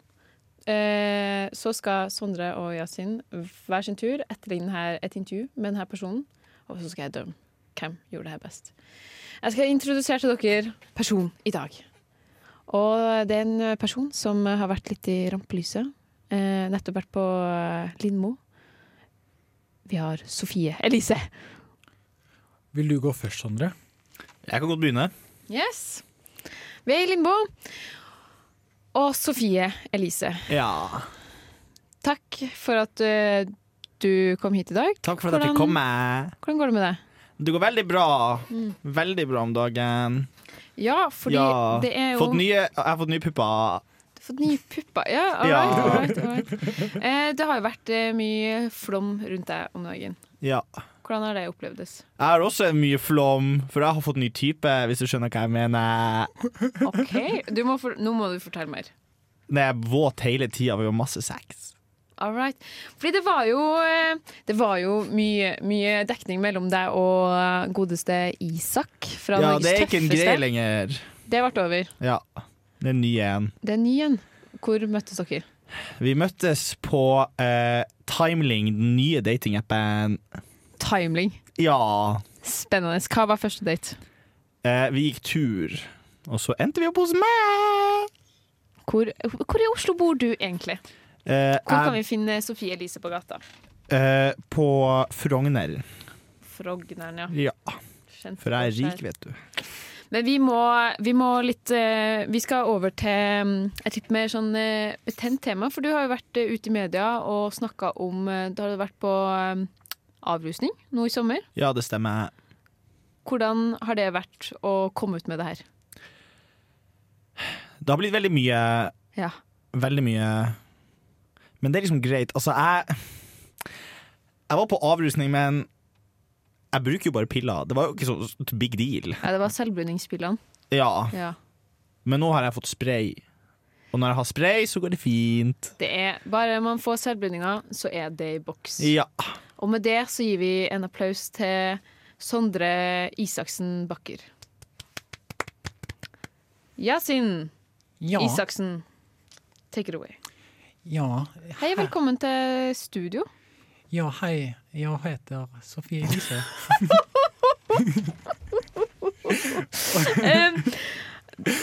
H: Eh, så skal Sondre og Yasin hver sin tur etterligne her et intervju med denne personen. Og så skal jeg dømme hvem gjorde det her best. Jeg skal introdusere til dere person i dag. Og det er en person som har vært litt i rampelyset. Eh, nettopp vært på eh, Lindmo. Vi har Sofie Elise.
D: Vil du gå først, Sondre?
J: Jeg kan godt begynne.
H: Yes! Vi er i Lindmo. Og Sofie Elise,
J: Ja.
H: takk for at eh, du kom hit i dag.
J: Takk for at jeg
H: Hvordan-
J: fikk komme.
H: Hvordan går det med deg?
J: Det går veldig bra.
H: Mm.
J: Veldig bra om dagen.
H: Ja, fordi
J: ja.
H: det er jo
J: fått nye, Jeg har fått nye pupper.
H: Fått nye pupper. Ja, all
J: Ja.
H: right, all right, all right. Eh, det har jo vært eh, mye flom rundt deg om dagen.
J: Ja.
H: Hvordan har det opplevdes?
J: Jeg har også mye flom, for jeg har fått ny type, hvis du skjønner hva jeg mener.
H: OK, du må for, nå må du fortelle mer.
J: Når jeg er våt hele tida, vi har masse sex.
H: All right. Fordi det var jo, eh, det var jo mye, mye dekning mellom deg og godeste Isak fra
J: Ja,
H: Norges
J: det er ikke en greie
H: tøffeste.
J: lenger.
H: Det ble over.
J: Ja, det er en ny en.
H: Det er ny en. Hvor møttes dere?
J: Vi møttes på eh, Timeling, den nye datingappen.
H: Timeling.
J: Ja.
H: Spennende. Hva var første date?
J: Eh, vi gikk tur. Og så endte vi opp hos meg!
H: Hvor, hvor i Oslo bor du egentlig?
J: Eh,
H: Hvor kan
J: jeg-
H: vi finne Sofie Elise på gata?
J: eh, på Frogner.
H: Frogneren, ja.
J: Ja.
H: Kjent
J: For jeg er rik,
H: forskjell.
J: vet du.
H: Men vi må, vi må litt eh, Vi skal over til mm, et litt mer sånn eh, betent tema, for du har jo vært eh, ute i media og snakka om eh, Du har vært på eh, avrusning nå i sommer.
J: Ja, det stemmer.
H: Hvordan har det vært å komme ut med det her?
J: Det har blitt veldig mye
H: Ja.
J: Veldig mye Men det er liksom greit. Altså, jeg Jeg var på avrusning, men jeg bruker jo bare piller. Det var jo ikke så big deal.
H: Ja, det var selvbruningspillene.
J: Ja.
H: Ja.
J: Men nå har jeg fått spray. Og når jeg har spray, så går det fint.
H: Det er bare man får selvbruninger, så er det i boks.
J: Ja.
H: Og med det så gir vi en applaus til Sondre Isaksen Bakker. Yasin
D: Ja.
H: Isaksen, take it away.
D: Ja,
H: Hei, velkommen til studio.
D: ja, hei. Jeg heter Sofie Elise.
H: Em,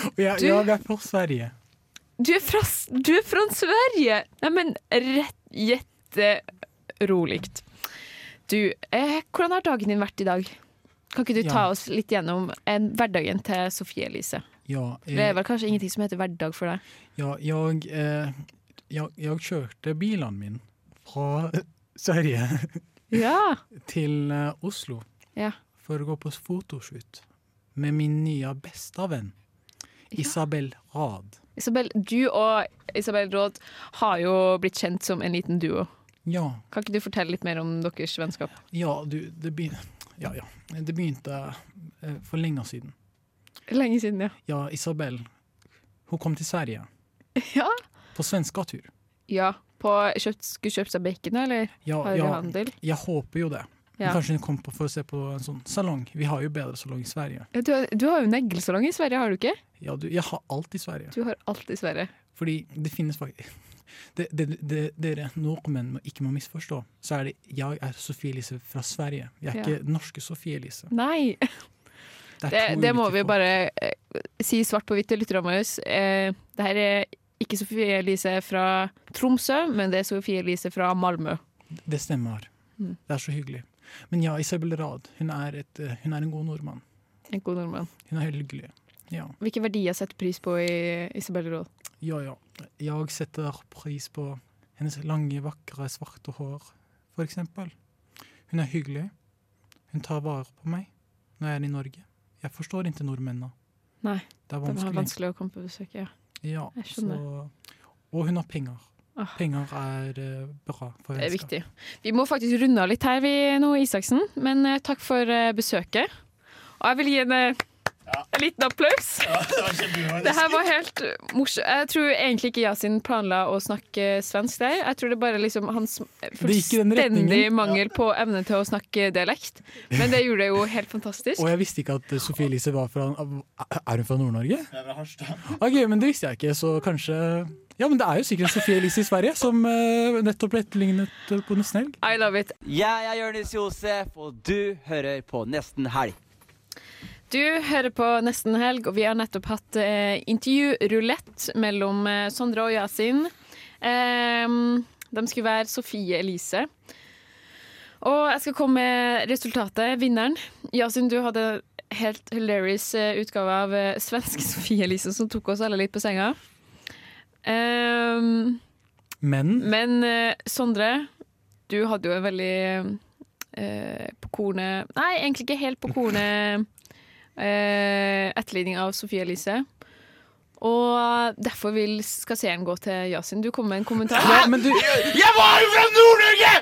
D: Og jeg,
H: du-
D: jeg er fra Sverige.
H: Du er fra, S- du er fra Sverige! Nei, men rett Jetterolikt. Du, eh, hvordan har dagen din vært i dag? Kan ikke du
D: Ja.
H: ta oss litt gjennom en, hverdagen til Sofie Elise?
D: Ja,
H: Det er
D: eh,
H: vel kanskje ingenting som heter hverdag for deg?
D: ja, jeg, eh, jeg, jeg kjørte bilen min fra Sverige
H: Ja.
D: til eh, Oslo
H: Ja.
D: for å gå på fotoshoot med min nye beste venn, Isabel Rad.
H: Isabel, du og Isabel Råd har jo blitt kjent som en liten duo.
D: Ja,
H: Kan ikke du fortelle litt mer om deres vennskap?
D: ja, du, det, begyn ja, ja. det begynte eh, for lenge siden.
H: Lenge siden, ja.
D: Ja, Isabel, hun kom til Sverige
H: Ja,
D: på svenskatur.
H: ja på, kjøpt, skulle kjøpt seg bacon, eller?
D: Ja,
H: har dere
D: ja,
H: handel?
D: jeg håper jo det. Men
H: Ja.
D: Kanskje hun kom på for å se på en sånn salong. Vi har jo bedre salong i Sverige.
H: Ja, Du, har- du har jo neglesalong i Sverige, har du ikke?
D: Ja, du, jeg har alt i Sverige.
H: Du har alt i Sverige.
D: Fordi det finnes faktisk det, det, det, Dere nordmenn må ikke må misforstå. Så er det Jeg er Sofie Elise fra Sverige. Jeg er
H: Ja.
D: ikke norske Sofie Elise.
H: Nei!
D: Det er
H: Det,
D: to
H: det må
D: ulike
H: vi
D: folk.
H: bare eh, si svart på hvitt til lytterne våre. Eh, det her er ikke Sofie Elise fra Tromsø, men det er Sofie Elise fra Malmö.
D: Det stemmer.
H: Mm.
D: Det er så hyggelig. Men ja, Isabel Rad, hun er, et, eh, hun er en god nordmann.
H: En god nordmann.
D: Hun er hyggelig. Ja.
H: Hvilke verdier setter pris på i Isabel Råd?
D: Ja, ja. Jeg setter pris på hennes lange, vakre, svarte hår, for eksempel. Hun er hyggelig. Hun tar vare på meg når jeg er i Norge. Jeg forstår ikke nordmennene.
H: Nei,
D: Det er
H: de har
D: vanskelig.
H: vanskelig å komme på besøk. Ja.
D: Ja,
H: Jeg skjønner.
D: så, og hun har penger.
H: Ah.
D: Penger er eh, bra for
H: Det er
D: vennskap.
H: viktig. Vi må faktisk runde av litt her vi, nå, Isaksen. Men eh, takk for eh, besøket. Og jeg vil gi en, eh, en liten applaus. det her var helt morsomt. Jeg tror egentlig ikke Yasin planla å snakke svensk der. Jeg tror det bare liksom hans
D: gikk i den retningen.
H: fullstendig mangel på evne til å snakke dialekt. Men det gjorde det jo helt fantastisk.
D: Og jeg visste ikke at eh, Sophie Elise var fra Er hun fra Nord-Norge?
J: Harstad.
D: Ok, men det visste jeg ikke, så kanskje Ja, men det er jo sikkert Sophie Elise i Sverige, som eh, nettopp ble etterlignet eh, på Nesten Helg.
H: I love it.
C: Jeg er Jonis Josef, og du hører på Nesten Helg.
H: Du hører på Nesten Helg, og vi har nettopp hatt eh, intervjurulett mellom eh, Sondre og Yasin. Ehm, de skulle være Sofie Elise. Og jeg skal komme med resultatet, vinneren. Yasin, du hadde en helt hilarious eh, utgave av eh, svensk Sofie Elise som tok oss alle litt på senga. Ehm,
D: Men
H: men eh, Sondre, du hadde jo en veldig eh, på kornet Nei, egentlig ikke helt på kornet eh, etterligning av Sofie Elise. Og derfor vil, skal seeren gå til Yasin. Du kom med en kommentar.
D: Ja, men du-
H: Jeg var jo fra Nord-Norge!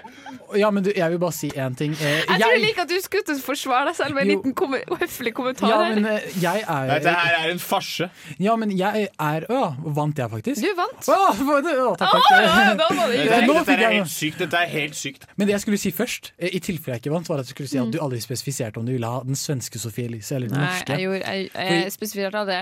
D: Ja, men du, jeg vil bare si én ting. Eh,
H: Jeg tror jeg liker at du skulle til å forsvare deg selv med en
D: Jo.
H: liten komme, høflig kommentar.
D: ja,
H: her.
D: men eh, jeg er
J: Dette her er en farse.
D: Ja, men jeg er Å, vant jeg faktisk?
H: Du vant.
D: Å, for- å, takk, takk.
H: Å, ja, da var det
J: Dette,
D: Ja,
J: er-
D: nå
J: dette
D: fikk
J: er
D: jeg-
J: helt sykt. Dette er helt sykt.
D: Men det jeg skulle si først, eh, i tilfelle jeg ikke vant, var at jeg skulle si at du aldri spesifiserte om du ville ha den svenske Sophie Elise eller den
H: Mm. Nei,
D: norske.
H: jeg, gjorde, jeg,
D: Fordi-
H: jeg spesifiserte av det.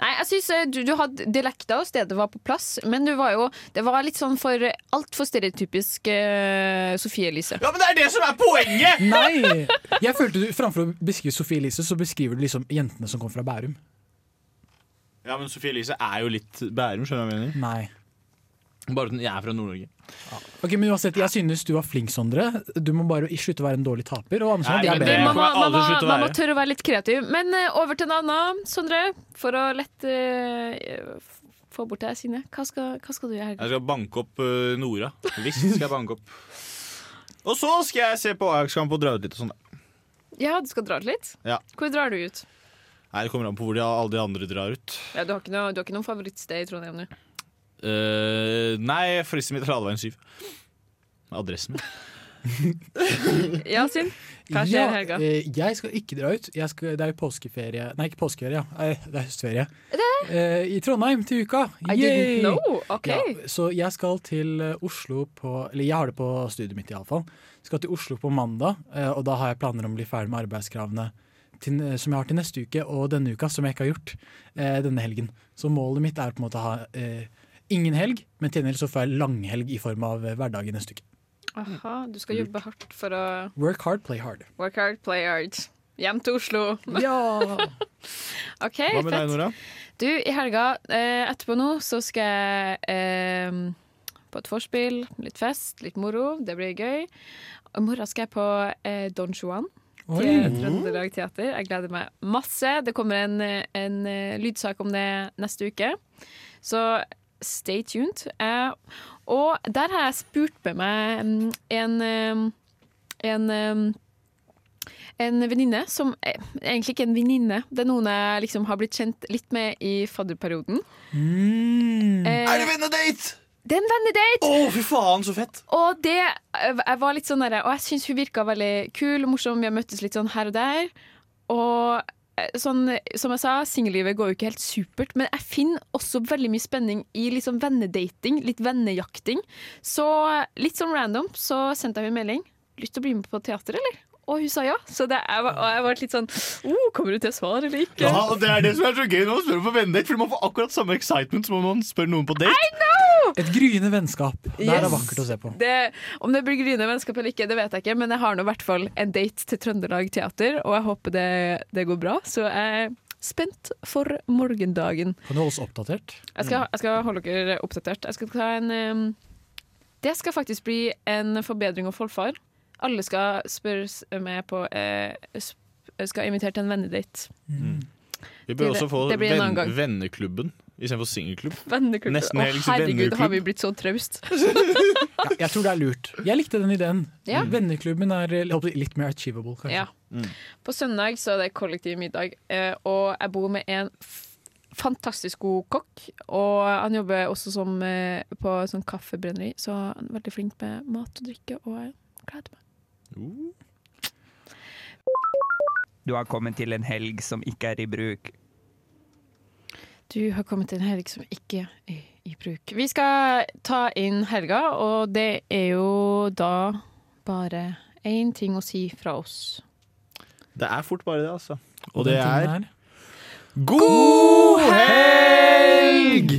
H: Nei, jeg synes eh, du, du hadde dialekta og stedet var på plass, men du var jo, det var litt sånn for altfor stereotypisk eh, Sofie Elise.
J: Ja, men det er det som er poenget!
D: Nei! Jeg følte du, Framfor å beskrive Sophie Elise, så beskriver du liksom jentene som kom fra Bærum.
J: Ja, men Sophie Elise er jo litt Bærum, skjønner du hva jeg mener?
D: Nei.
J: Bare at jeg er fra Nord-Norge.
D: Ok, men uansett, Jeg synes du var flink, Sondre. Du må bare slutte å være en dårlig taper. Og
J: Nei,
D: Amundsen er
J: men det kommer
D: bedre.
J: jeg
H: Man må,
J: aldri slutte å
H: man må
J: være.
H: tørre å være litt kreativ. Men eh, over til en annen, Sondre. For å lette eh, f- få bort det her sinnet. Hva skal, hva skal du gjøre?
J: Jeg skal banke opp eh, Nora. Visst skal jeg banke opp. Og så skal jeg se på Ajax-kamp og dra ut litt og sånn.
H: Ja, du skal dra ut litt?
J: Ja.
H: Hvor drar du ut?
J: Nei, Det kommer an på hvor de, alle de andre drar ut.
H: Ja, du, har ikke noe, du har ikke noe favorittsted i Trondheim nå?
J: Eh, nei, forresten mitt er Ladeveien 7. Adressen min.
H: Ja, Sinn? Hva skjer i helga?
D: eh, jeg skal ikke dra ut. Jeg skal, det er jo påskeferie Nei, ikke påskeferie, ja. Eh, det er høstferie. Eh, I Trondheim til uka.
H: I didn't
D: Yay!
H: know. Ok.
D: Ja, så jeg skal til eh, Oslo på Eller jeg har det på studiet mitt, iallfall. Skal til Oslo på mandag, eh, og da har jeg planer om å bli ferdig med arbeidskravene til, som jeg har til neste uke og denne uka, som jeg ikke har gjort eh, denne helgen. Så målet mitt er på en måte å ha eh, ingen helg, men til gjengjeld så får jeg langhelg i form av eh, hverdag i neste uke.
H: Aha, du skal jobbe hardt for å
D: Work hard, play hard.
H: work hard, play hard. Hjem til Oslo.
D: Ja!
H: OK,
D: Hva med deg,
H: fett.
D: Nora?
H: Du, i helga eh, etterpå nå så skal jeg eh, på et vorspiel, litt fest, litt moro. Det blir gøy. Og I morgen skal jeg på eh, Don Juan.
Q: Oi.
H: Til Trøndelag Teater. Jeg gleder meg masse. Det kommer en, en eh, lydsak om det neste uke. Så stay tuned. Eh, og der har jeg spurt med meg mm, en, eh, en eh, en venninne som eh, Egentlig ikke en venninne, det er noen jeg liksom har blitt kjent litt med i fadderperioden.
D: Mm.
H: Eh,
J: Er det vennedate?!
H: Det er en vennedate!
J: Å, fy faen, så fett!
H: Og det eh, Jeg var litt sånn der, Og jeg syns hun virka veldig kul og morsom, vi har møttes litt sånn her og der. Og eh, sånn, som jeg sa, singellivet går jo ikke helt supert, men jeg finner også veldig mye spenning i litt sånn vennedating, litt vennejakting. Så litt sånn random så sendte jeg henne en melding. Lyst til å bli med på teater, eller? Og hun sa ja, så det, jeg, var, og jeg var litt sånn oh, Kommer du til å svare eller ikke?
J: Ja, og Det er det som er så gøy når man spør på vennedate, for man får akkurat samme excitement som om man spør noen på date.
D: Et gryende vennskap. Det her
H: Yes.
D: er vakkert å se på.
H: Det, om det blir gryende vennskap eller ikke, det vet jeg ikke, men jeg har nå i hvert fall en date til Trøndelag Teater, og jeg håper det, det går bra. Så jeg er spent for morgendagen.
D: Kan du holde oss oppdatert?
H: Jeg skal, jeg skal holde dere oppdatert. Jeg skal ta en ehm, Det skal faktisk bli en forbedring og forfar. Alle skal spørres med på eh, sp- Skal invitere til en vennedate.
J: Vi bør
H: Det-
J: også få
H: det blir en annen
J: venn,
H: gang.
J: venneklubben istedenfor singelklubb.
H: Venneklubb.
J: Nesten
H: Å,
J: helgs
H: herregud, har vi
J: venneklubb.
H: blitt så traust?
D: Ja, jeg tror det er lurt. Jeg likte den ideen.
H: Ja.
D: Venneklubben er eh, håper jeg, litt mer achievable, kanskje.
H: Ja. På søndag så er det kollektiv middag, eh, og jeg bor med en f fantastisk god kokk. Og han jobber også som, eh, på sånn kaffebrenneri, så han er veldig flink med mat og drikke. Og jeg gleder meg.
J: Uh.
C: Du har kommet til en helg som ikke er i bruk.
H: Du har kommet til en helg som ikke er i bruk. Vi skal ta inn helga, og det er jo da bare én ting å si fra oss.
J: Det er fort bare det, altså.
H: Og
J: Og
H: den
J: det
H: tingen
J: er God helg!